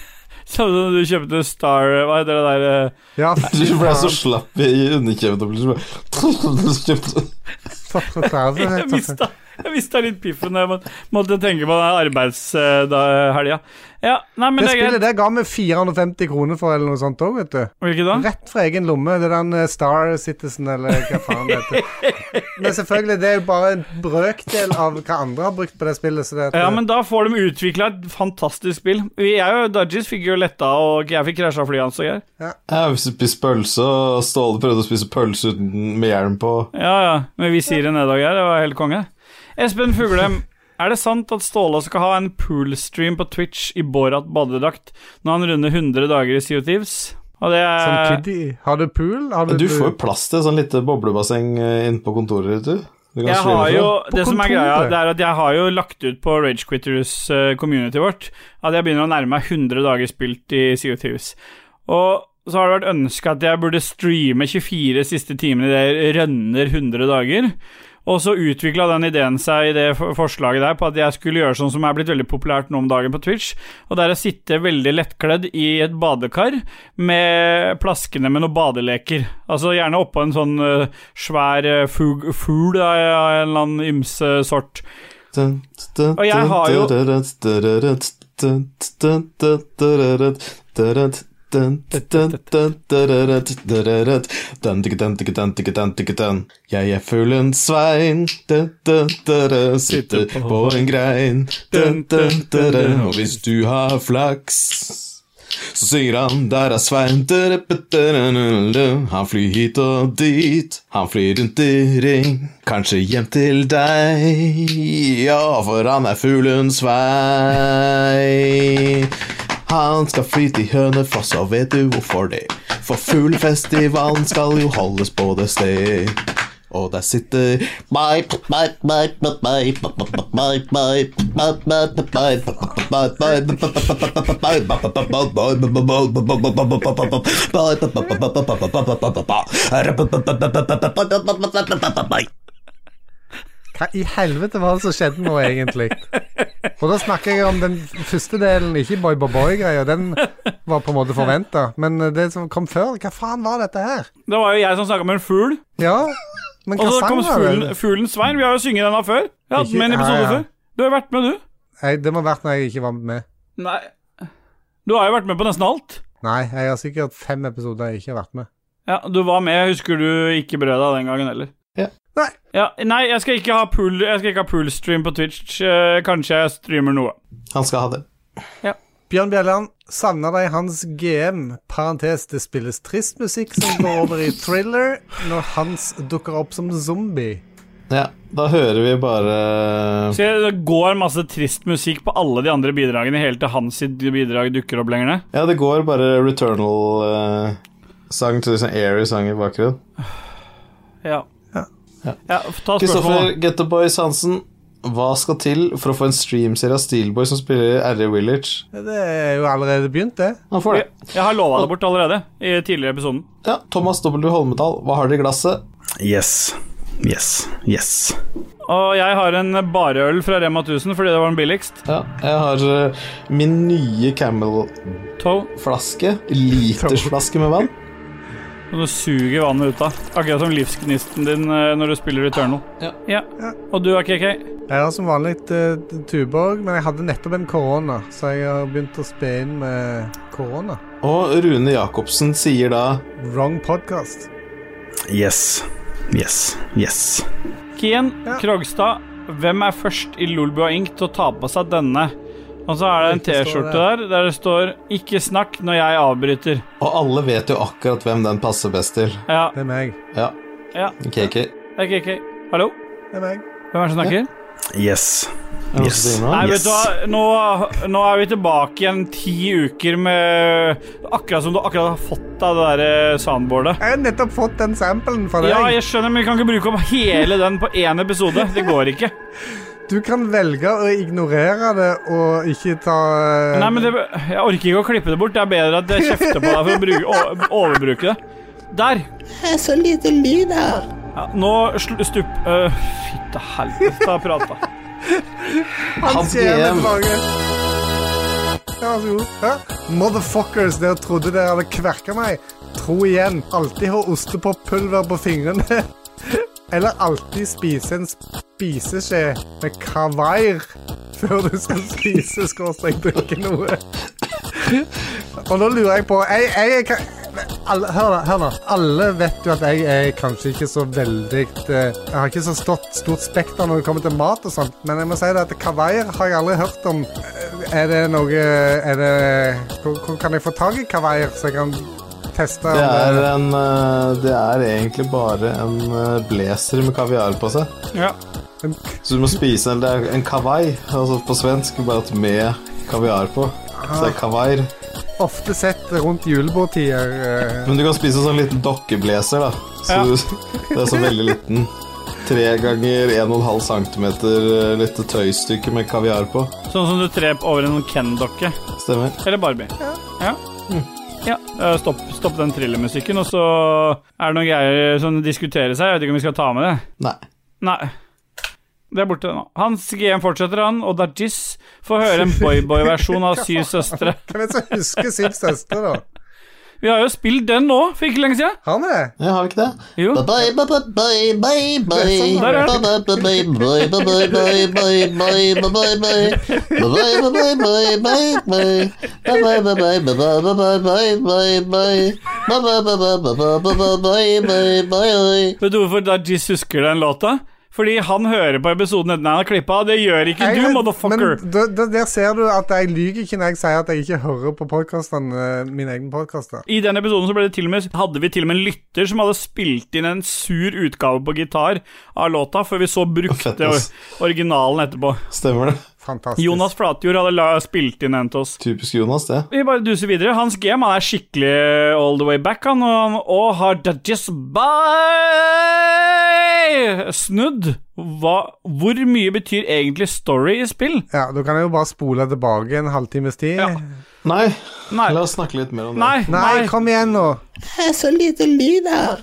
A: Samme som du kjøpte Star Hva heter det der eh,
C: Ja,
D: Du ble så
C: faen.
D: slapp i underkjeven og ble så bare
C: Så forferdelig.
A: Jeg mista, jeg mista litt piffen da jeg må- måtte tenke på den arbeidshelga. Ja, nei, men
C: Det
A: det er greit.
C: spillet der ga vi 450 kroner for, eller noe sånt òg, vet du.
A: Hvilket da?
C: Rett fra egen lomme. Det er den eh, Star Citizen, eller hva faen det heter. Men selvfølgelig, det er jo bare en brøkdel av hva andre har brukt på det spillet. Så det at,
A: Ja, men da får de utvikla et fantastisk spill. Vi- Jeg og Dudgies fikk jo letta, og jeg fikk krasja flyet hans og greier.
D: Jeg spiste pølse, og Ståle prøvde å spise pølse uten med hjelm på.
A: Ja, ja. Men vi sier en neddag her. Det var helt konge. Espen Fuglem, er det sant at Ståle skal ha en poolstream på Twitch i Borat badedrakt når han runder 100 dager i Sea of Thieves? Og det er
C: Som kiddie. Har du pool? Har
D: Du får jo plass til sånn lite boblebasseng eh, inne på kontoret ditt, du. Du kan
A: Jeg
D: svinge
A: har
D: fra.
A: jo,
C: altså, På
A: det som er
C: kontoret.
A: greia, det er at jeg har jo lagt ut på Ragequitters-community vårt at jeg begynner å nærme meg 100 dager spilt i Sea of Thieves. Og så har det vært ønska at jeg burde streame 24 siste timene i det rønner 100 dager. Og så utvikla den ideen seg i det for- forslaget der på at jeg skulle gjøre sånn som er blitt veldig populært nå om dagen på Twitch, og det er å sitte veldig lettkledd i et badekar med plaskene med noen badeleker. Altså gjerne oppå en sånn eh, svær eh, fug, fugl da, av en eller annen ymse sort.
D: Og
A: jeg har jo-
D: Jeg er fuglen Svein, sitter på en grein. Og hvis du har flaks, Så synger han Der er Svein da-da-da-da-da-da. Han flyr hit og dit Han flyr rundt i ring Kanskje hjem til deg Ja, for han er fuglen Svein Han skal fly til Hønefoss Og vet du hvorfor det For fuglefestivalen skal jo holdes på det sted og der sitter
C: Hva i helvete var det som skjedde nå, egentlig? Og da snakker jeg om den første delen, ikke Boy Boy Boy-greia. Den var på en måte forventa. Men det som kom før, hva faen var dette her?
A: Det var jo jeg som snakka med en fugl.
C: Ja, men
A: og
C: hva
A: så
C: sang
A: kom
C: var
A: fuglen,
C: det?
A: fuglen Svein. Vi har jo synget denne før. Jeg hadde den med i en
C: Ikke-
A: episode
C: ja, ja.
A: før. Du har jo vært med, du.
C: Nei, det må ha vært når jeg ikke var med.
A: Nei. Du har jo vært med på nesten alt.
C: Nei, jeg har sikkert fem episoder jeg ikke har vært med.
A: Ja, Du var med, husker du ikke brød deg den gangen heller.
D: Ja.
C: Nei.
A: Ja, nei, jeg skal ikke ha pool Jeg skal ikke ha poolstream på Twitch. Eh, Kanskje jeg streamer noe.
D: Han skal ha det
C: Bjørn Bjelland savner deg hans GM. Parentes, det spilles trist musikk som går over i thriller når Hans dukker opp som zombie.
D: Ja, da hører vi bare
A: Så Det går masse trist musikk på alle de andre bidragene helt til hans sitt bidrag dukker opp lenger ned.
D: Ja, det går bare Returnal-sang til sånn airy sang i bakgrunnen.
A: Ja.
D: Ja.
A: ja ta
D: Kristoffer
A: spørsmålet.
D: Getteboys Hansen, hva skal til for å få en streamserie av Steelboy som spiller R.E. Village?
C: Det er jo allerede begynt, det.
D: Han får det.
A: Jeg har lova det bort allerede i tidligere episoden.
D: Ja, Thomas W. Holmetal, hva har dere i glasset?
B: Yes. Yes. Yes.
A: Og jeg har en bareøl fra Rema 1000 fordi det var den billigst.
D: Ja, jeg har eh, min nye Camel-flaske.
A: Toe.
D: Litersflaske med vann.
A: Og du suger vannet ut av. Akkurat som livsgnisten din eh, når du spiller Returnal.
D: Ja.
A: Og du er KK.
C: Jeg har som vanlig eh, Tuborg, men jeg hadde nettopp en korona, så jeg har begynt å spe inn med korona.
D: Og Rune Jacobsen sier da
C: Wrong podcast.
B: Yes. Yes. Yes.
A: Kien
C: Ja.
A: Krogstad, hvem er først i Lolbua Ink til å ta på seg denne? Og så er det en
C: Ikke står
A: T-skjorte der der det står 'Ikke snakk når jeg avbryter'.
D: Og alle vet jo akkurat hvem den passer best til.
A: Ja,
C: Det er meg.
D: Ja,
A: ja.
D: KK.
A: Det er KK. Hallo?
C: Det er meg.
A: Hvem er det som snakker?
B: Yes.
D: Er det noen som sier noe?
A: Nei,
B: Yes.
A: vet du hva, nå, nå er vi tilbake igjen ti uker med Akkurat som du akkurat har fått av det der eh, soundboardet.
C: Jeg har nettopp fått den samplen fra deg.
A: Ja, jeg skjønner, men vi kan ikke bruke opp hele den på én episode. Det går ikke.
C: Du kan velge å ignorere det og ikke ta eh,
A: Nei, men det, Jeg orker ikke å klippe det bort. Det er bedre at jeg kjefter på deg for å bruke, o- overbruke det. Der.
F: Så lite lyd her.
A: Ja, nå sl stup... Uh, Fytte helvete, jeg prata.
C: Han
D: Hans
C: skjer med
D: GM.
C: tilbake. Ja, Vær så god. Hæ? Motherfuckers, dere trodde dere hadde kverka meg. Tro igjen. Alltid ha ostepoppulver på fingrene. <laughs> Eller alltid spise en spiseskje med kavair før du skal spise skråstrek drikke noe. Og nå lurer jeg på jeg, jeg, er ka- alle, hør, nå, hør nå. Alle vet jo at jeg er kanskje ikke så veldig eh, Jeg har ikke så stort, stort spekter når det kommer til mat og sånt, men jeg må si det at kavair har jeg aldri hørt om. Eh, Er det noe er det, hvor, hvor kan jeg få tak i kavair, så jeg kan teste? om
D: Det er, en, eh, det er egentlig bare en eh, blazer med kaviar på seg.
A: Ja.
D: Så du må spise en, det er en kavai, altså på svensk, bare at med kaviar på. Så det er kavair.
C: Ofte sett rundt julebordtider. eh,
D: Men du kan spise en sånn liten dokkeblazer, da. Så
A: Ja.
D: du, det er så veldig liten. Tre ganger 1,5 cm eh, lite tøystykke med kaviar på.
A: Sånn som du trep over en Ken-dokke.
D: Stemmer.
A: Eller Barbie. Ja. ja. eh, Stopp, stopp den trillemusikken, og så er det noen greier som diskuterer seg. Jeg vet ikke om vi skal ta med det.
D: Nei.
A: Nei. Det er borte nå. Hans GM fortsetter, han, og Dajis får høre en boyboy-versjon av Syv søstre.
C: Hvem er det som husker Siv søster, da?
A: Vi har jo spilt den nå, for ikke lenge siden.
C: Har vi det?
D: Jeg har vi ikke det?
A: Jo. Der er den.
K: Bye.
A: Vet du hvorfor Dajis husker den låta? Fordi han hører på episoden etter han har klippa. Det gjør ikke du,
C: Jeg-
A: motherfucker.
C: Men da- da- der ser du at jeg lyver ikke når jeg sier at jeg ikke hører på eh, podcastene, mine egne podkaster.
A: I den episoden så ble det til og med, hadde vi til og med en lytter som hadde spilt inn en sur utgave på gitar av låta, før vi så brukte
D: Fett, ass.
A: originalen etterpå.
D: Stemmer det.
C: Fantastisk.
A: Jonas Flatjord hadde la, spilt inn en til oss.
D: Typisk Jonas, det.
A: Vi bare duser videre. Hans GM han er skikkelig all the way back, han, og, han- og har da just by snudd. Hva, hvor mye betyr egentlig story i spill?
C: Ja, da kan jeg jo bare spole tilbake en halvtimes tid.
D: Nei,
A: Nei.
D: la oss snakke litt mer om det.
A: Nei,
C: Nei, kom igjen nå.
H: Det er så lite lyd her.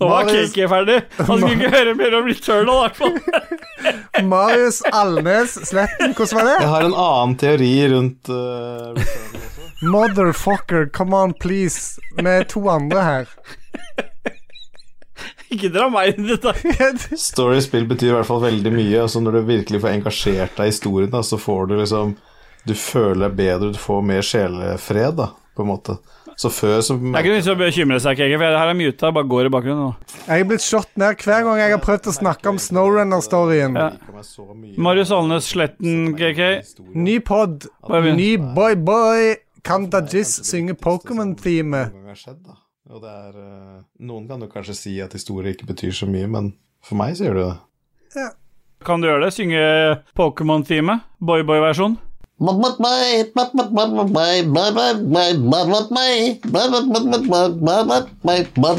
A: Nå var
C: Marius-
A: KK ferdig. Han skulle ikke høre mer om Returnal, i hvert fall. <laughs>
C: Marius Alnes Sletten, hvordan var
D: Jeg
C: det?
D: har en annen teori rundt eh, Returnal.
C: Motherfucker, come on, please. Vi er to andre her.
A: Ikke dra meg inn i dette.
D: Story i spill betyr i hvert fall veldig mye. Altså når du virkelig får engasjert deg i historien, da, så får du liksom Du føler deg bedre, du får mer sjelefred, da, på en måte. Så før så
A: Det er ikke noe vits i å bekymre seg, KK, for her er muta. Bare går i bakgrunnen. nå.
C: Jeg er blitt slått ned hver gang jeg har prøvd å snakke om Snowrunner-storyen.
A: Marius Alnes Sletten, KK.
C: Ny pod,
A: Bare begynn.
C: ny boy-boy. Kan Dajis synge Pokémon-teamet?
D: Og det er, eh, noen kan jo kanskje si at historie ikke betyr så mye, men for meg så gjør det det.
A: Kan du gjøre det? Synge Pokémon-teamet? Boyboy-versjon?
D: Ja,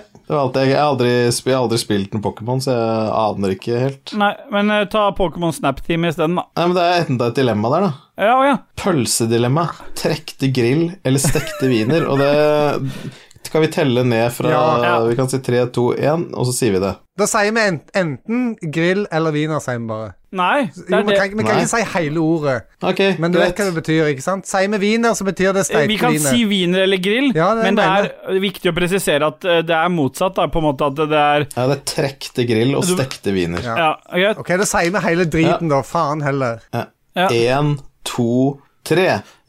D: det var alt jeg, jeg, har aldri, sp- jeg har aldri spilt en Pokémon, så jeg aner ikke helt.
A: Nei, men eh, ta Pokémon Snap-teamet isteden, da.
D: Nei, men Det er enda et dilemma der, da.
A: Ja, å ja.
D: Pølsedilemma. Trekte grill eller stekte wiener. Og det kan vi telle ned fra
C: Ja,
A: ja.
D: Vi kan si 3, 2, 1, og så sier vi det.
C: Da sier vi en- enten grill eller wiener, sier vi bare.
A: Nei, det
C: Jo,
A: er
C: vi
A: det.
C: kan, ikke- vi kan ikke si hele ordet,
D: Ok,
C: men du vet hva det betyr, ikke sant? Sier vi wiener, så betyr det
A: Eh, Vi
C: steikt
A: kan si
C: wiener.
A: wiener eller grill,
C: Ja, det er
A: men det
C: det
A: er viktig å presisere at eh, det er motsatt. Da, på en måte at det er
D: Ja, det er trekte grill og
A: Du-
D: stekte wiener.
A: Ja, greit.
C: Ok, da sier vi hele driten, da. Faen heller.
A: Ja.
D: Én, to, tre. Wiener.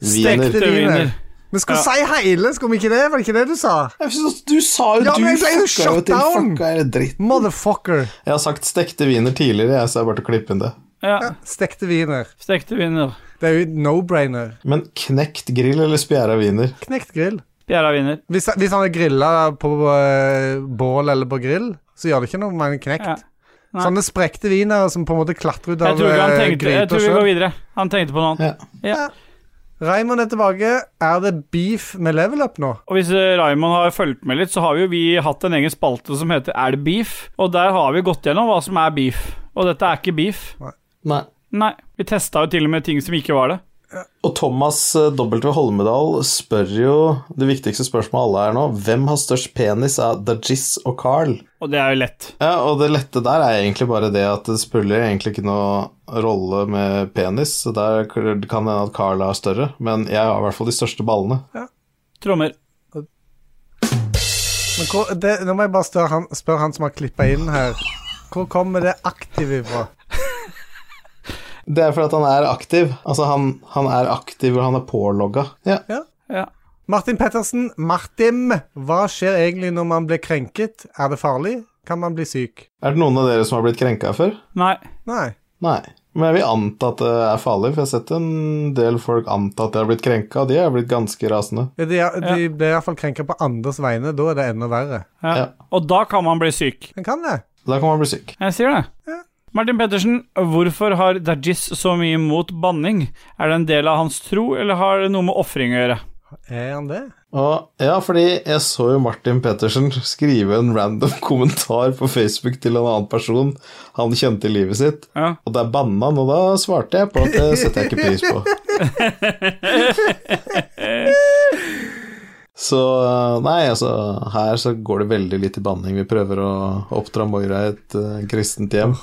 A: Stekte wiener.
C: Vi skulle
A: Ja.
C: si hele, skulle vi ikke det? Var det ikke det du sa?
D: Jeg synes at Du sa jo
C: Ja,
D: du
C: men jeg ble jo
D: fucka jo
C: shut
D: til.
C: down.
D: Fucka er det dritt.
C: Motherfucker.
D: Jeg har sagt stekte wiener tidligere, jeg, så jeg er bare til å klippe inn det.
A: Ja,
C: Stekte wiener.
A: stekte wiener.
C: Det er jo no-brainer.
D: Men knekt grill eller spjæra wiener?
C: Knekt grill.
A: Fjæra wiener.
C: Hvis, hvis han er grilla på eh, bål eller på grill, så gjør det ikke noe om han er knekt.
A: Ja. Nei.
C: Sånne sprekte wienere som på en måte klatrer ut
A: Jeg
C: av
A: tror ikke han
C: eh,
A: tenkte Jeg
C: gryta
A: tror vi går
C: sjøl.
A: videre. Han tenkte på noe annet.
D: Ja.
C: Raymond er tilbake. Er det beef med level up nå?
A: Og hvis eh, Raymond har fulgt med litt, så har jo vi hatt en egen spalte som heter Er det beef? Og der har vi gått gjennom hva som er beef. Og dette er ikke beef.
D: Nei.
A: Nei. Vi testa jo til og med ting som ikke var det.
D: Og Thomas eh, W. Holmedal spør jo det viktigste spørsmålet alle er nå. Hvem har størst penis av Dajis og Carl?
A: Og det er jo lett.
D: Ja, og det lette der er egentlig bare det at det spiller egentlig ikke noe rolle med penis. Så der kan det hende at Carl er større, men jeg har i hvert fall de største ballene.
A: Trommer.
C: Men hvor, det, nå må jeg bare spørre han, spørre han som har klippa inn her. Hvor kommer det aktive fra?
D: Det er fordi at han er aktiv. Altså, han, han er aktiv, og han er pålogga. Ja.
A: Ja.
C: Martin Pettersen, Martin, hva skjer egentlig når man blir krenket? Er det farlig? Kan man bli syk?
D: Er det noen av dere som har blitt krenka før?
A: Nei.
C: Nei.
D: Nei. Men jeg vil anta at det er farlig, for jeg har sett en del folk anta at de har blitt krenka, og de har blitt ganske rasende.
C: De, de blir iallfall krenka på andres vegne. Da er det enda verre.
A: Ja.
D: Ja.
A: Og da kan man bli syk.
C: Men kan det?
D: Da kan man bli syk.
A: Jeg sier det. Martin Pettersen, hvorfor har Dajis så mye mot banning? Er det en del av hans tro, eller har det noe med ofring å gjøre?
C: Er han det?
D: Og, ja, fordi jeg så jo Martin Pettersen skrive en random <laughs> kommentar på Facebook til en annen person han kjente i livet sitt,
A: Ja.
D: og der banna han, og da svarte jeg på at det setter jeg ikke pris <laughs> på. Så nei, altså her så går det veldig litt i banning. Vi prøver å oppdra Moira i et eh, kristent hjem,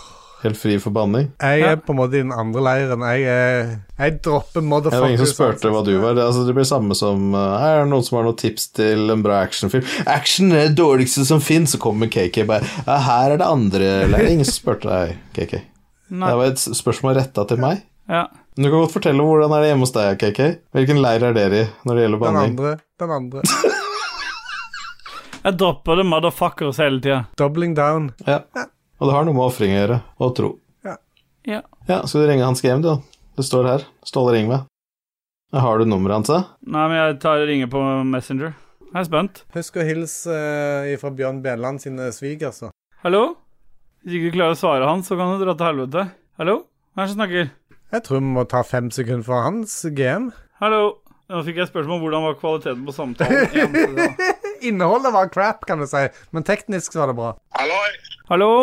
D: helt fri for banning.
C: Jeg er på en måte i den andre leiren. Jeg, er, jeg dropper
D: Ja, det var ingen som
C: motherfuckers.
D: spurte hva du var. Det, altså, det blir samme som eh, Er det noen som har noen tips til en bra actionfilm? Action er det dårligste som fins, så kommer KK bare Ja, her er det andre leier. Ingen som spurte deg, KK.
A: Nei.
D: Det var et spørsmål retta til meg.
A: Ja.
D: Men Du kan godt fortelle om hvordan er det hjemme hos deg, KK. Hvilken leir er dere i når det gjelder
C: Den
D: banning?
C: andre. Den andre.
A: Jeg dropper the motherfuckers hele tida.
C: Doubling down.
D: Ja. Og det har noe med ofring å gjøre, og tro.
A: Ja.
D: Ja, skal du ringe han skal hjem, du, da? Det står her. Ståle, ring meg. Har du nummeret hans, da?
A: Nei, men jeg tar ringer på Messenger. Jeg er spent.
C: Husk å hilse eh, fra Bjørn Bjelland sine svigers. da.
A: Hallo? Hvis ikke du klarer å svare han, så kan du dra til helvete. Hallo? Hvem er det som snakker?
C: Jeg tror vi må ta fem sekunder for hans GM.
A: Hallo? Nå fikk jeg spørsmål om hvordan var kvaliteten på samtalen. igjen.
C: Innholdet var crap, kan du si, men teknisk var det bra.
A: Hallo?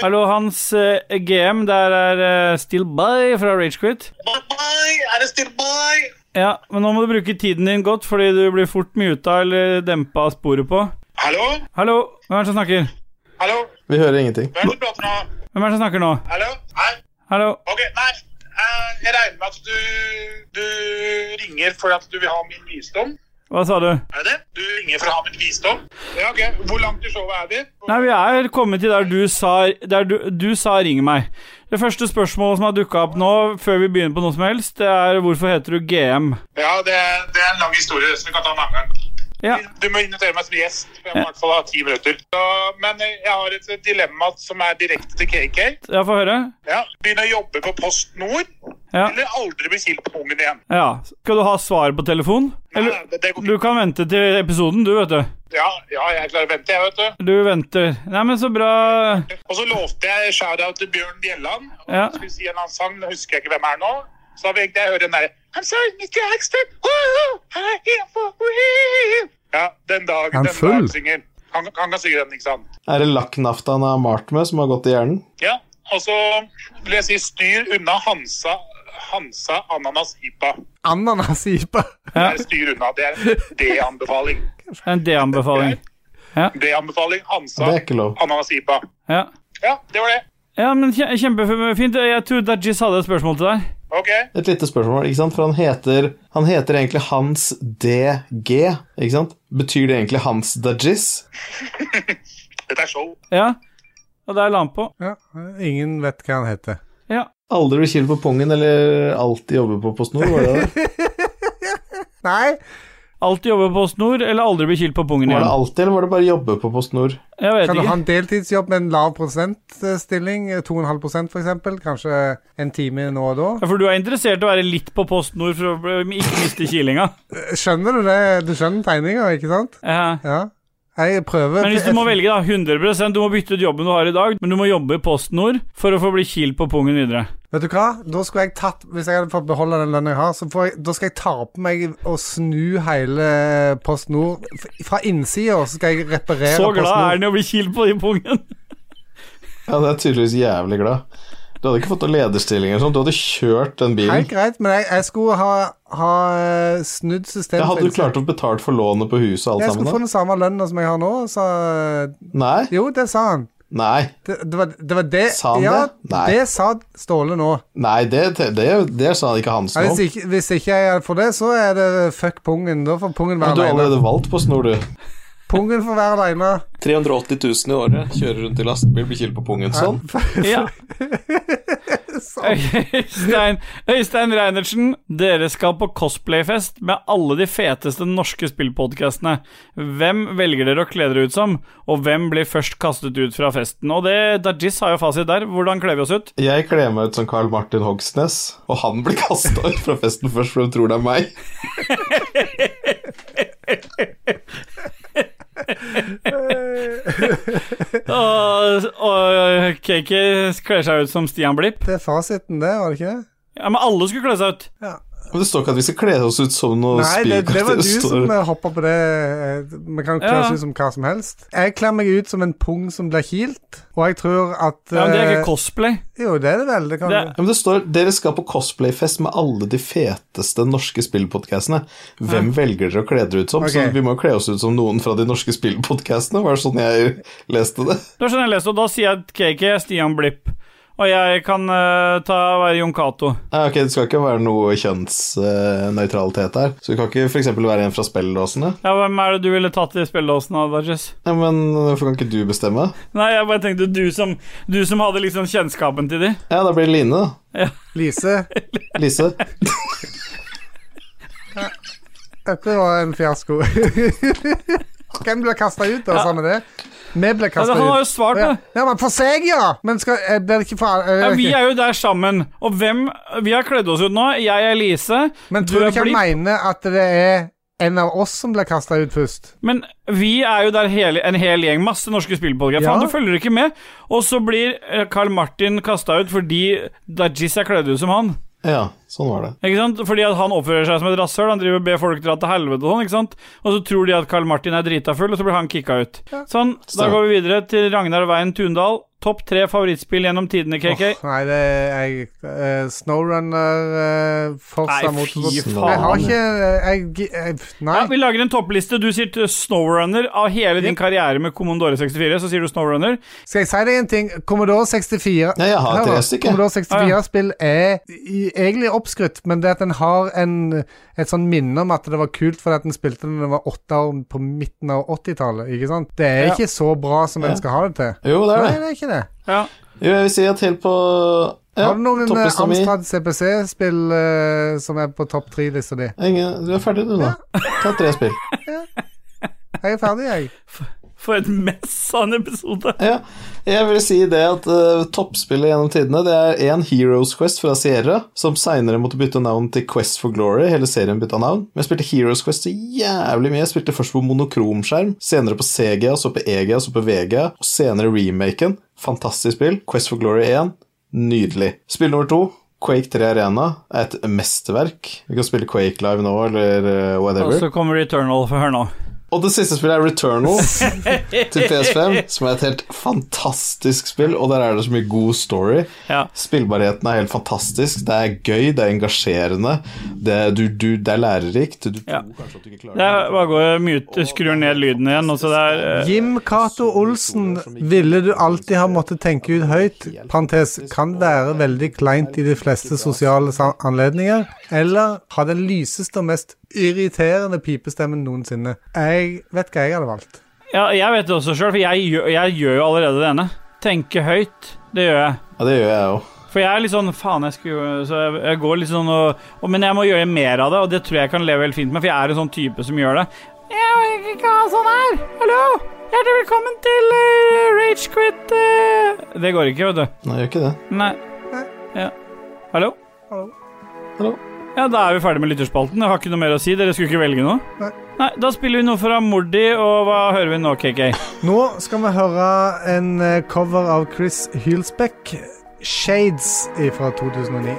A: Hallo, Hans eh, GM. Der er eh, Still By fra Ragequit.
L: Er det still by?
A: Ja, men nå må du bruke tiden din godt, fordi du blir fort muta eller dempa av sporet på.
L: Hallo?
A: Hallo? Hvem er det som snakker?
L: Hallo?
D: Vi hører ingenting.
L: Hvem er det du prater med?
A: Hvem er det som snakker nå?
L: Hallo? Hei?
A: Hallo?
L: Ok, nei. eh, Jeg regner med at du, du ringer for at du vil ha min visdom.
A: Hva sa du?
L: Er det det? Du ringer for å ha min visdom? Ja, ok. Hvor langt i showet er vi?
A: Nei, vi er kommet til der du sa Der du, du sa 'ring meg'. Det første spørsmålet som har dukka opp nå, før vi begynner på noe som helst, det er hvorfor heter du GM?
L: Ja, det, det er en lang historie som vi kan ta en annen gang.
A: Ja.
L: Du må invitere meg som gjest. Jeg må i hvert fall ha ti minutter. Så, men eh, jeg har et dilemma som er direkte til KK.
A: Ja, få høre.
L: Ja, Begynne å jobbe på Post Nord,
A: Ja.
L: eller aldri bli kilt på pungen igjen.
A: Ja. Skal du ha svar på telefon? Eller
L: det- det går
A: Du kan vente til episoden, du, vet du.
L: Ja, ja, jeg klarer å vente, jeg, vet du.
A: Du venter. Nei, men så bra.
L: Og så lovte jeg shout-out til Bjørn Bjelland. Og
A: Ja.
L: så skulle vi si en annen sang, nå husker jeg ikke hvem er nå. Så da fikk jeg høre den derre I'm sorry, Mr. Axton. Oh, oh, I'm here for real. Ja, den dag,
D: Er han
L: den
D: full?
L: dag synger. Han, han kan synge den, ikke sant?
D: Er det lakknafta han har malt med, som har gått i hjernen?
L: Ja, og så vil jeg si styr unna Hansa, Hansa Ananas Ipa.
C: <laughs> Ananasipa.
L: Det er styr unna, det er en D-anbefaling.
A: En D-anbefaling.
L: D-anbefaling, Hansa
A: Det er ikke lov.
L: Ananas Ipa.
A: Ja.
L: Ja, det var det.
A: ja, men kje- kjempefint. Jeg tror Dajis hadde et spørsmål til deg.
L: Ok.
D: Et lite spørsmål, ikke sant? For han heter, han heter egentlig Hans DG, ikke sant? Betyr det egentlig Hans Dajis?
L: Dette er show.
A: Ja. Og der la han på.
C: Ja. Ingen vet hva han heter.
D: Aldri bli kilt på pungen, eller alltid jobbe på PostNord, var det det?
C: Nei.
A: Alltid jobbe på PostNord, eller aldri bli kilt på pungen
D: Var
A: igjen?
D: det alltid, eller var det bare jobbe på PostNord?
A: Jeg vet
C: kan du
A: ikke.
C: ha en deltidsjobb med en lav prosentstilling? eh, 2,5 f.eks.? Kanskje en time nå og da?
A: Ja, for du er interessert i å være litt på PostNord for å bli- ikke miste kilinga?
C: Skjønner du det? Du skjønner tegninga, ikke sant?
A: Ja.
C: Jeg prøver
A: Men hvis du må velge, da. 100 Du må bytte ut jobben du har i dag, men du må jobbe i PostNord for å få bli kilt på pungen videre.
C: Vet du hva? Da skulle jeg tatt Hvis jeg hadde fått beholde den lønna jeg har, så får jeg, da skal jeg ta på meg og snu hele Post Nord F- fra innsida, så skal jeg reparere
A: Så glad
C: PostNord.
A: er han i å bli kilt på i
C: <laughs>
A: pungen.
D: Ja, det er tydeligvis jævlig glad. Du hadde ikke fått noen lederstilling eller sånt, du hadde kjørt den bilen.
C: Helt greit, men jeg, jeg skulle ha, ha eh, snudd systemet.
D: Ja, hadde du
C: for innsiden.
D: klart å betale for lånet på huset og alt
C: Jeg skulle få
D: sammen da?
C: den samme lønna som jeg har nå, så eh,
D: Nei.
C: Jo, det sa han.
D: Nei.
C: Det, det, var, det var det
D: Sa han
C: ja,
D: det? Nei.
C: det sa Ståle nå.
D: Nei, det, det, det sa ikke Hans
C: Ja,
D: nå.
C: hvis, ikke, hvis ikke jeg får det, så er det fuck pungen. Da får pungen
D: Men
C: være
D: du har
C: aleine.
D: allerede valgt PostNord, du.
C: Pungen får være aleine.
D: 380 000 i året, kjører rundt i lastebil, blir kilt på pungen. Sånn.
C: <laughs>
A: Ja.
C: Sånn.
A: Øystein, Øystein Reinertsen, dere skal på cosplayfest med alle de feteste norske spillpodkastene. Hvem velger dere å kle dere ut som, og hvem blir først kastet ut fra festen? Og det, Dajis har jo fasit der. Hvordan kler vi oss ut?
D: Jeg kler meg ut som Carl Martin Hogsnes, og han blir kasta ut fra festen først, for de tror det er meg.
A: Og, og KK kler seg ut som Stian Blipp.
C: Det er fasiten, det, var det ikke det?
A: Ja, men alle skulle kle seg ut.
D: Men det står ikke at vi skal kle oss ut som noe
C: Nei, det, det var du som
D: spillkarakter.
C: hoppa på det. eh, Vi kan kle
A: Ja.
C: oss ut som hva som helst. Jeg kler meg ut som en pung som blir kilt, og jeg tror at
A: Ja, men det er
C: eh,
A: ikke cosplay.
C: Jo, det er det vel. Det kan
D: Ja, men det står dere skal på cosplayfest med alle de feteste norske spillpodkastene. Hvem velger dere å kle dere ut som? Så
A: Ok.
D: vi må jo kle oss ut som noen fra de norske spillpodkastene, var det sånn jeg leste det?
A: Det var sånn jeg leste, og da sier jeg at KK er Stian Blipp. Og jeg kan eh, ta, være Jon Cato.
D: Ja, ok, Det skal ikke være noe kjønnsnøytralitet her. Så du kan ikke f.eks. være en fra spelledåsene?
A: Ja, hvem er det du ville tatt i spilledåsen av, Dajis?
D: Ja, men hvorfor kan ikke du bestemme?
A: Nei, jeg bare tenkte du som, du som hadde liksom kjennskapen til de.
D: Ja, da blir det Line, da.
C: Lise.
D: Lise.
C: Dette var en fiasko. <laughs> Hvem blir kasta ut, da?
A: Ja.
C: Samme det. Vi blir
A: Ja,
C: kasta ut.
A: han har jo svart,
C: ja.
A: da.
C: ja, men For seg, ja! Men skal, eh, blir det ikke for eh,
A: Ja, vi er jo der sammen, og hvem Vi har kledd oss ut nå. Jeg er Lise.
C: Men
A: du
C: tror du
A: er
C: ikke han
A: Blipp.
C: mener at det er en av oss som blir kasta ut først?
A: Men vi er jo der hele, en hel gjeng, masse norske spillpodcast.
C: Ja.
A: Faen, du følger ikke med. Og så blir eh, Carl Martin kasta ut fordi Dajis er kledd ut som han.
D: Ja, sånn var det.
A: Ikke sant? Fordi at han oppfører seg som et rasshøl. Han driver og ber folk dra til helvete og sånn. ikke sant? Og så tror de at Carl Martin er drita full, og så blir han kicka ut. Sånn. Da
C: Stemmer.
A: går vi videre til Ragnar Veien Tundal. Topp tre favorittspill gjennom tidene, KK.
C: Åh, nei, det er jeg, eh, Snowrunner, uh, Forza
A: Nei, fy
C: Motorsport
A: faen.
C: Jeg har ikke eh, jeg, gi- jeg, Nei.
A: Ja, vi lager en toppliste. Du sier t- Snowrunner av hele din karriere med Commodore 64. Så sier du Snowrunner.
C: Skal jeg si deg en ting? Commodore 64
A: Ja, jeg har
C: Hør
A: tre
C: nå,
A: stykker.
C: Commodore
A: Ah, ja.
C: 64-spill er i, egentlig oppskrytt, men det at en har en, et sånn minne om at det var kult fordi at en spilte den da en var åtte år på midten av 80-tallet, ikke sant? Det er
D: Ja.
C: ikke så bra som
D: Ja.
C: en skal ha det til.
D: Jo, det er
C: Nei,
D: det.
C: det er ikke det.
D: Jo, jeg vil si at helt på ja,
C: har du noen eh,
D: topplista mi-
C: Amstrad CPC-spill eh, som er på topp tre-lista di?
D: Ingen, du er ferdig, du, da. Ta tre spill.
C: Jeg er ferdig, jeg.
A: For et mess av en episode.
D: <laughs> Ja, jeg vil si det at eh, toppspillet gjennom tidene Det er en Heroes Quest fra Sierra, som seinere måtte bytte navn til Quest for Glory. Hele serien bytta navn. Men jeg spilte Heroes Quest så jævlig mye. Jeg spilte først på monokromskjerm, senere på CGA, så på EGA, så på VGA, og senere remaken. Fantastisk spill. Quest for Glory 1, nydelig. Spill nummer to. Quake 3 Arena er et mesterverk. Vi kan spille Quake live nå, eller eh,
A: Og
D: whatever.
A: så kommer Returnal. Få høre nå.
D: Og det siste spillet er
A: <laughs>
D: Returnal til PS5, som er et helt fantastisk spill, og der er det så mye god story. Spillbarheten er helt fantastisk. Det er gøy, det er engasjerende, det er, du, du, det er lærerikt. Du,
A: Ja. Det er, bare går mute, skrur ned lyden igjen, og så det er eh,
C: <laughs> Jim Cato Olsen ville du alltid ha måttet tenke ut høyt, parentes, kan være veldig kleint i de fleste sosiale sa- anledninger, eller ha den lyseste og mest irriterende pipestemmen noensinne. Jeg vet hva jeg hadde valgt.
A: Ja, jeg vet det også sjøl, for jeg gjør, jeg gjør jo allerede det ene. Tenke høyt. Det gjør jeg.
D: Ja, det gjør jeg òg.
A: For jeg er litt sånn Faen, jeg skulle jo- Så jeg, jeg går litt sånn og, og Men jeg må gjøre mer av det, og det tror jeg jeg kan leve helt fint med, for jeg er en sånn type som gjør det. Jeg vil ikke ha sånn her! Hallo! Hjertelig velkommen til eh, Rage Ragequit Det går ikke, vet du.
D: Nei, jeg gjør ikke det.
A: Nei. Ja. Hallo?
C: Hallo.
D: Hallo.
A: Ja, da er vi ferdig med lytterspalten. Jeg har ikke noe mer å si. Dere skulle ikke velge noe?
C: Nei.
A: da spiller vi noe fra Mordi, og hva hører vi nå, KK?
C: Nå skal vi høre en eh, cover av Chris Hylsbeck, 'Shades' fra 2009.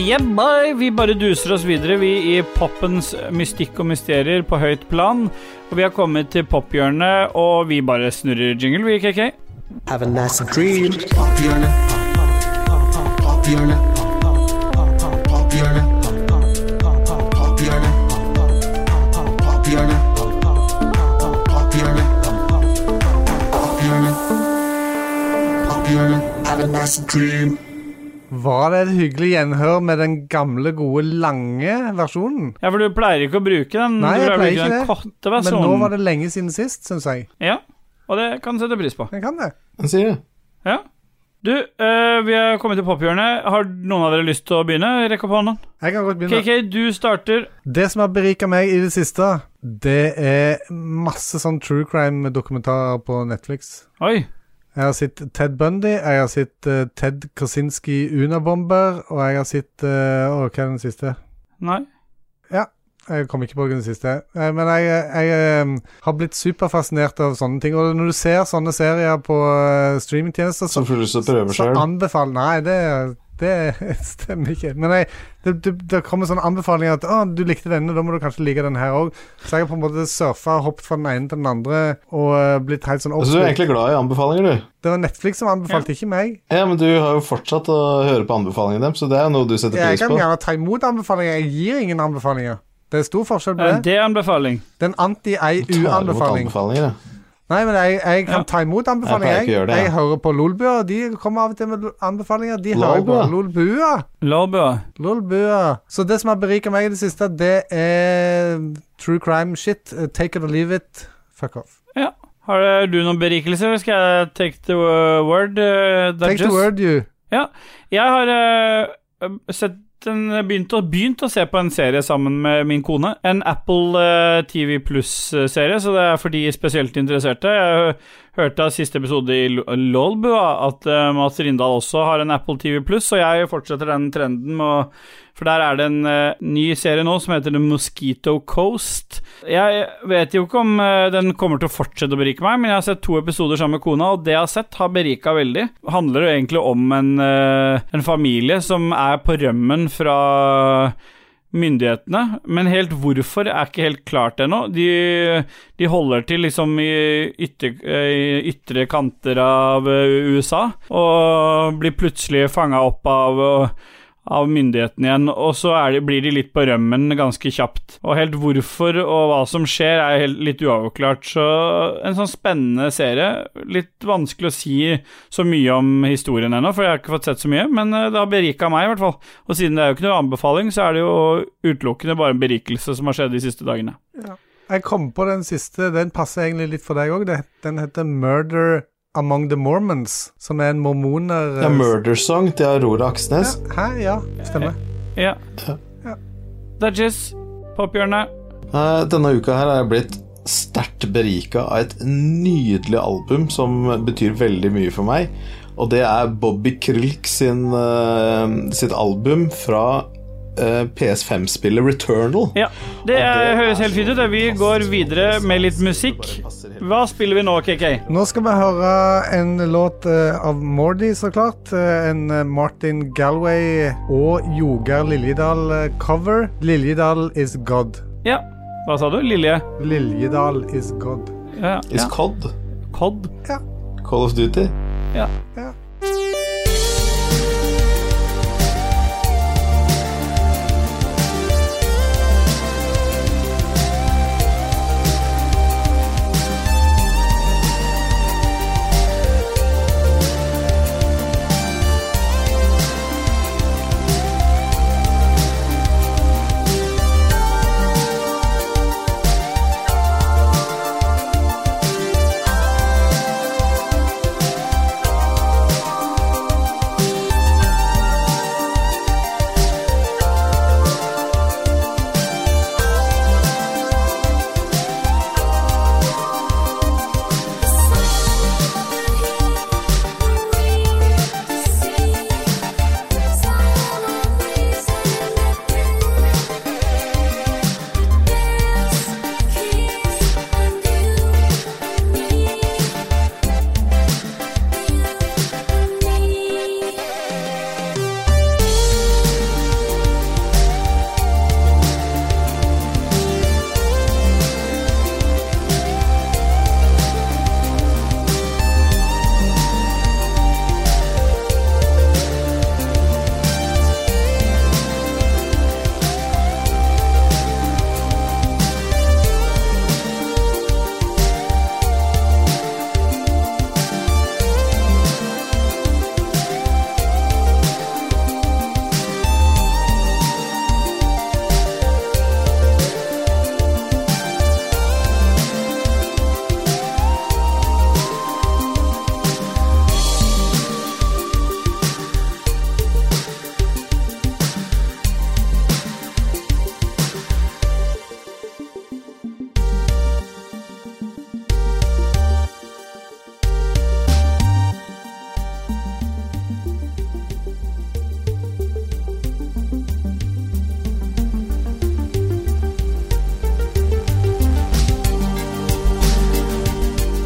A: Yeah, boy. Vi bare duser oss videre, vi i poppens mystikk og mysterier på høyt plan. Og vi har kommet til pophjørnet, og vi bare snurrer jingle, vi, KK.
K: Have a nice dream. Pophjørnet.
M: Papirene. Papirene. Papirene. Papirene. Papirene. Papirene. Papirene. Have a nice dream.
C: Var det et hyggelig gjenhør med den gamle, gode, lange versjonen?
A: Ja, for du pleier ikke å bruke den.
C: Nei,
A: du
C: jeg pleier
A: bruke
C: ikke
A: den
C: det.
A: korte
C: Men
A: versjonen.
C: nå var sånn- det lenge siden sist, syns jeg.
A: Ja, og det kan jeg sette pris på.
C: Jeg kan det.
D: Han sier det.
A: Ja. Du, eh, vi er kommet til pophjørnet. Har noen av dere lyst til å begynne? Rekk opp hånden.
C: Jeg kan godt begynne.
A: KK, du starter.
C: Det som har berika meg i det siste, det er masse sånn true crime-dokumentarer på Netflix.
A: Oi.
C: Jeg har sett Ted Bundy, jeg har sett eh, Ted Kosinski Unabomber, og jeg har sett eh, Å, hva er den siste?
A: Nei.
C: Ja, jeg kom ikke på den siste. Eh, Men jeg, jeg eh, har blitt superfascinert av sånne ting. Og når du ser sånne serier på eh, streamingtjenester
D: Som føles som prøver
C: så
D: selv.
C: anbefaler Nei, det, det <laughs> stemmer ikke. Men jeg, det, det, det kommer sånne anbefalinger at å, du likte denne, da må du kanskje like den her òg. Så jeg har på en måte surfa og hoppet fra den ene til den andre og eh, blitt helt sånn
D: Altså, du er egentlig
C: oppslukt.
D: glad i anbefalinger, du.
C: Det var Netflix som anbefalte, ikke meg.
D: Ja, men du har jo fortsatt å høre på anbefalingene dem, så det er jo noe du setter
C: Jeg
D: pris
C: kan
D: på.
C: gjerne ta imot anbefalinger. Jeg gir ingen anbefalinger. Det er stor forskjell på
A: Eh,
C: det.
A: Det er anbefaling.
C: Det er en
D: Du tar imot
C: anti-ei-u-anbefaling.
D: anbefalinger, ja.
C: Nei, men jeg, jeg kan
D: Ja.
C: ta imot
D: Jeg
C: anbefalinger.
D: pleier ikke å
C: Jeg,
D: gjøre det, jeg.
C: jeg hører på Lolbua, og de kommer av og til med anbefalinger. De hører jeg på
D: Lolbua?
C: Lolbua.
A: Lolbua.
C: Lolbua. Så det som har berika meg i det siste, det er true crime shit. Eh, Take it or leave it. Fuck off.
A: Ja. Har eh, du noen berikelser? Skal jeg take the eh, word? eh,
C: Take the
A: Dodges?
C: word, you.
A: Ja. Jeg har eh, sett en, begynt, å, begynt å se på en serie sammen med min kone. En Apple eh, TV Pluss-serie, så det er for de spesielt interesserte. Jeg hørte av siste episode i Lo- Lolbua at eh, Mats Rindal også har en Apple TV Pluss, og jeg fortsetter den trenden med å For der er det en eh, ny serie nå som heter The Mosquito Coast. Jeg vet jo ikke om eh, den kommer til å fortsette å berike meg, men jeg har sett to episoder sammen med kona, og det jeg har sett, har berika veldig. Det handler jo egentlig om en, eh, en familie som er på rømmen fra myndighetene, men helt hvorfor er ikke helt klart ennå. De, de holder til liksom i ytter, eh, ytre kanter av eh, USA, og blir plutselig fanga opp av eh, av myndighetene igjen, og så er de, blir de litt på rømmen ganske kjapt. Og helt hvorfor og hva som skjer, er helt, litt uavklart. Så en sånn spennende serie. Litt vanskelig å si så mye om historien ennå, for jeg har ikke fått sett så mye, men eh, det har berika meg, i hvert fall. Og siden det er jo ikke noe anbefaling, så er det jo utelukkende bare en berikelse som har skjedd de siste dagene.
C: Jeg kom på den siste. Den passer egentlig litt for deg òg. Den heter Murder Among the Mormons, som er en mormoner... eh,
D: Det er Murder Song til Aurora Aksnes.
C: Hæ? Ja, stemmer.
A: Ja. Dodges, pophjørnet.
D: Eh, Denne uka her er jeg blitt sterkt berika av et nydelig album som betyr veldig mye for meg. Og det er Bobby Krylk sin, eh, sitt album fra eh, PS5-spillet Returnal.
A: Ja, det, er, høres helt fint ut. Vi går videre med litt musikk. Hva spiller vi nå, KK?
C: Nå skal vi høre en låt eh, av Mordy, så klart. Eh, En eh, Martin Galway og Jogar Liljedal-cover. Liljedal is God.
A: Ja, hva sa du? Lilje?
C: Liljedal is God.
A: Ja,
D: Is
A: ja.
D: COD.
A: COD?
C: Ja.
D: Call of Duty.
A: Ja.
M: Thank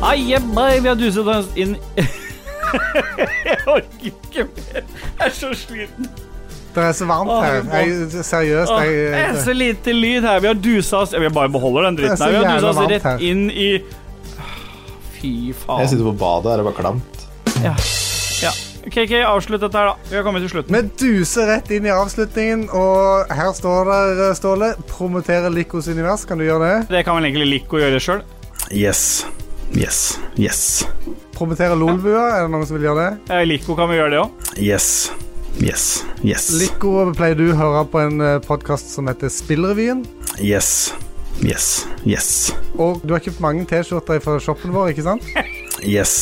A: Ai, jebbai, vi har duset oss inn <laughs> Jeg orker ikke mer. Jeg er så sliten.
C: Det er så varmt
A: Åh,
C: her.
A: jeg må-
C: Jeg, seriøst,
A: Åh,
C: jeg, eh,
A: det er så lite lyd her. Vi har dusa oss Vi bare beholder den
C: Det er
A: dritten
C: så
A: her. Vi har
C: jævla
A: dusa oss
C: varmt
A: rett
C: her.
A: inn i Fy faen.
D: Jeg sitter på badet, her er det bare klamt.
A: Ja. ja. KK, avslutt dette her, da. Vi har kommet til slutten.
C: Vi duser rett inn i avslutningen, og her står det, eh, Ståle, promotere Likos univers. Kan du gjøre det?
A: Det kan vel egentlig Lico gjøre sjøl.
B: Yes. Yes. Yes.
C: Promotere Lolbua. Er det noen som vil gjøre det?
A: Eh, Lico kan vi gjøre det òg.
B: Yes. Yes. Yes.
C: Lico pleier du å høre på en podkast som heter Spillrevyen.
B: Yes. Yes. Yes.
C: Og du har kjøpt mange T-skjorter fra shoppen vår, ikke sant?
B: Yes.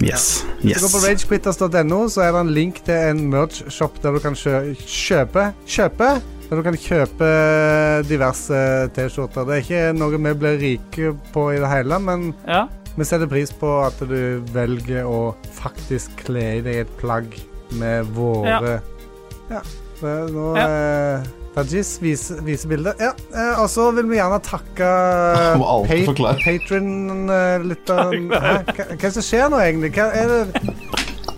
B: Yes.
C: Hvis du går på
B: Yes.
C: ragequitters.no, så er det en link til en merch-shop der du kan kjø kjøpe Kjøpe? Der du kan kjøpe eh, diverse T-skjorter. Det er ikke noe vi blir rike på i det hele, men
A: Ja.
C: vi setter pris på at du velger å faktisk kle i deg et plagg med våre Ja. Det er nå
M: Ja.
C: eh, Tajis viser vise bildet. Ja, eh, og så vil vi gjerne takke eh,
D: Må alltid
C: pa eh,
D: forklare.
C: <laughs> patron-lytteren Hva hva er det som skjer nå, egentlig? Hva er det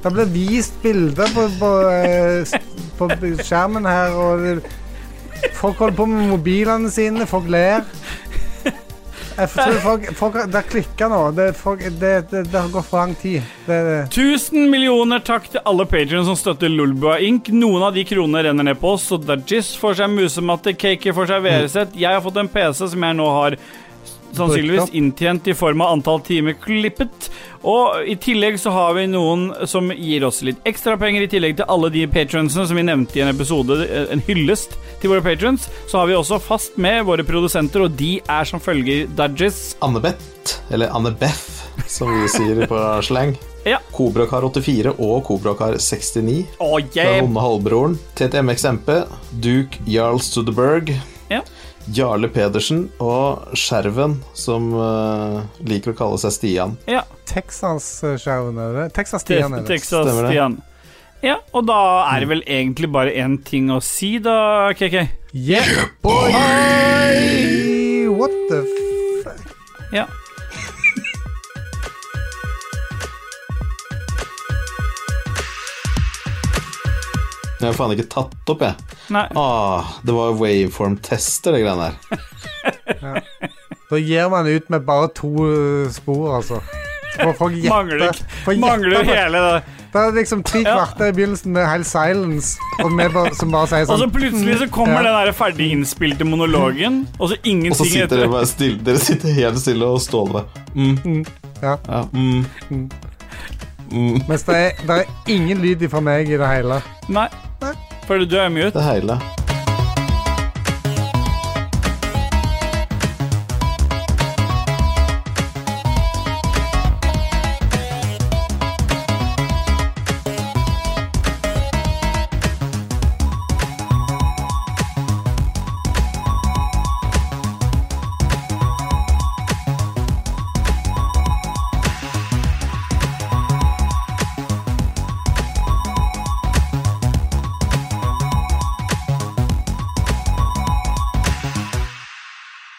C: Det blir vist bilder på, på, eh, s- på b- skjermen her, og det, folk holder på med mobilene sine, folk ler. Jeg tror folk, folk har- Det har klikka nå. Det, folk, det, det, det har gått for lang tid. Det, det.
A: Tusen millioner takk til alle patrions som støtter Lulboa Inc. Noen av de kronene renner ned på oss, så Dudgies får seg musematte, Cakey får seg VR-sett. Jeg har fått en PC som jeg nå har sannsynligvis inntjent i form av antall timer klippet. Og i tillegg så har vi noen som gir oss litt ekstra penger, i tillegg til alle de patronsene som vi nevnte i en episode, eh, en hyllest til våre patrons. Så har vi også fast med våre produsenter, og de er som følger Dudgies.
D: Annebeth, eller Annebeth, som vi sier
A: <laughs>
D: på slang.
A: Ja.
D: Kobrakar84 og Kobrakar69.
A: Oh,
D: Fra Vonde halvbroren. TTMXMP. Duke Jarl Studeberg.
A: Ja.
D: Jarle Pedersen og Skjerven, som eh, liker å kalle seg Stian.
A: Ja.
C: Texas-skjermen, eh, er det? Texas-stian, er det?
D: Stemmer det. Mm.
A: Texas-Stian. Ja, og da er det vel egentlig bare én ting å si, da, KK.
C: Yeah, boy! What the
A: Ja.
D: Jeg har faen ikke tatt opp, jeg.
A: Nei.
D: Ah, det var waveform-tester, det greiene der.
C: Da gir man ut med bare to eh, spor, altså. Så
A: <laughs>
C: må folk gjette-
A: Mangler-
C: få gjette
A: mangler
C: på-
A: hele det.
C: Det er liksom tre kvarter i begynnelsen med helt silence, og vi bare, som bare sier
A: Og
C: sånn
A: så plutselig så kommer den der ferdig innspilte monologen, og så
D: Og så
A: ingenting
D: sitter dere bare stille Dere sitter helt stille og ståler mm.
C: Ja.
D: ja. Mm. Mm.
C: Mens det er, det er ingen lyd fra meg i det hele.
A: Nei. For du er mute.
D: Det hele.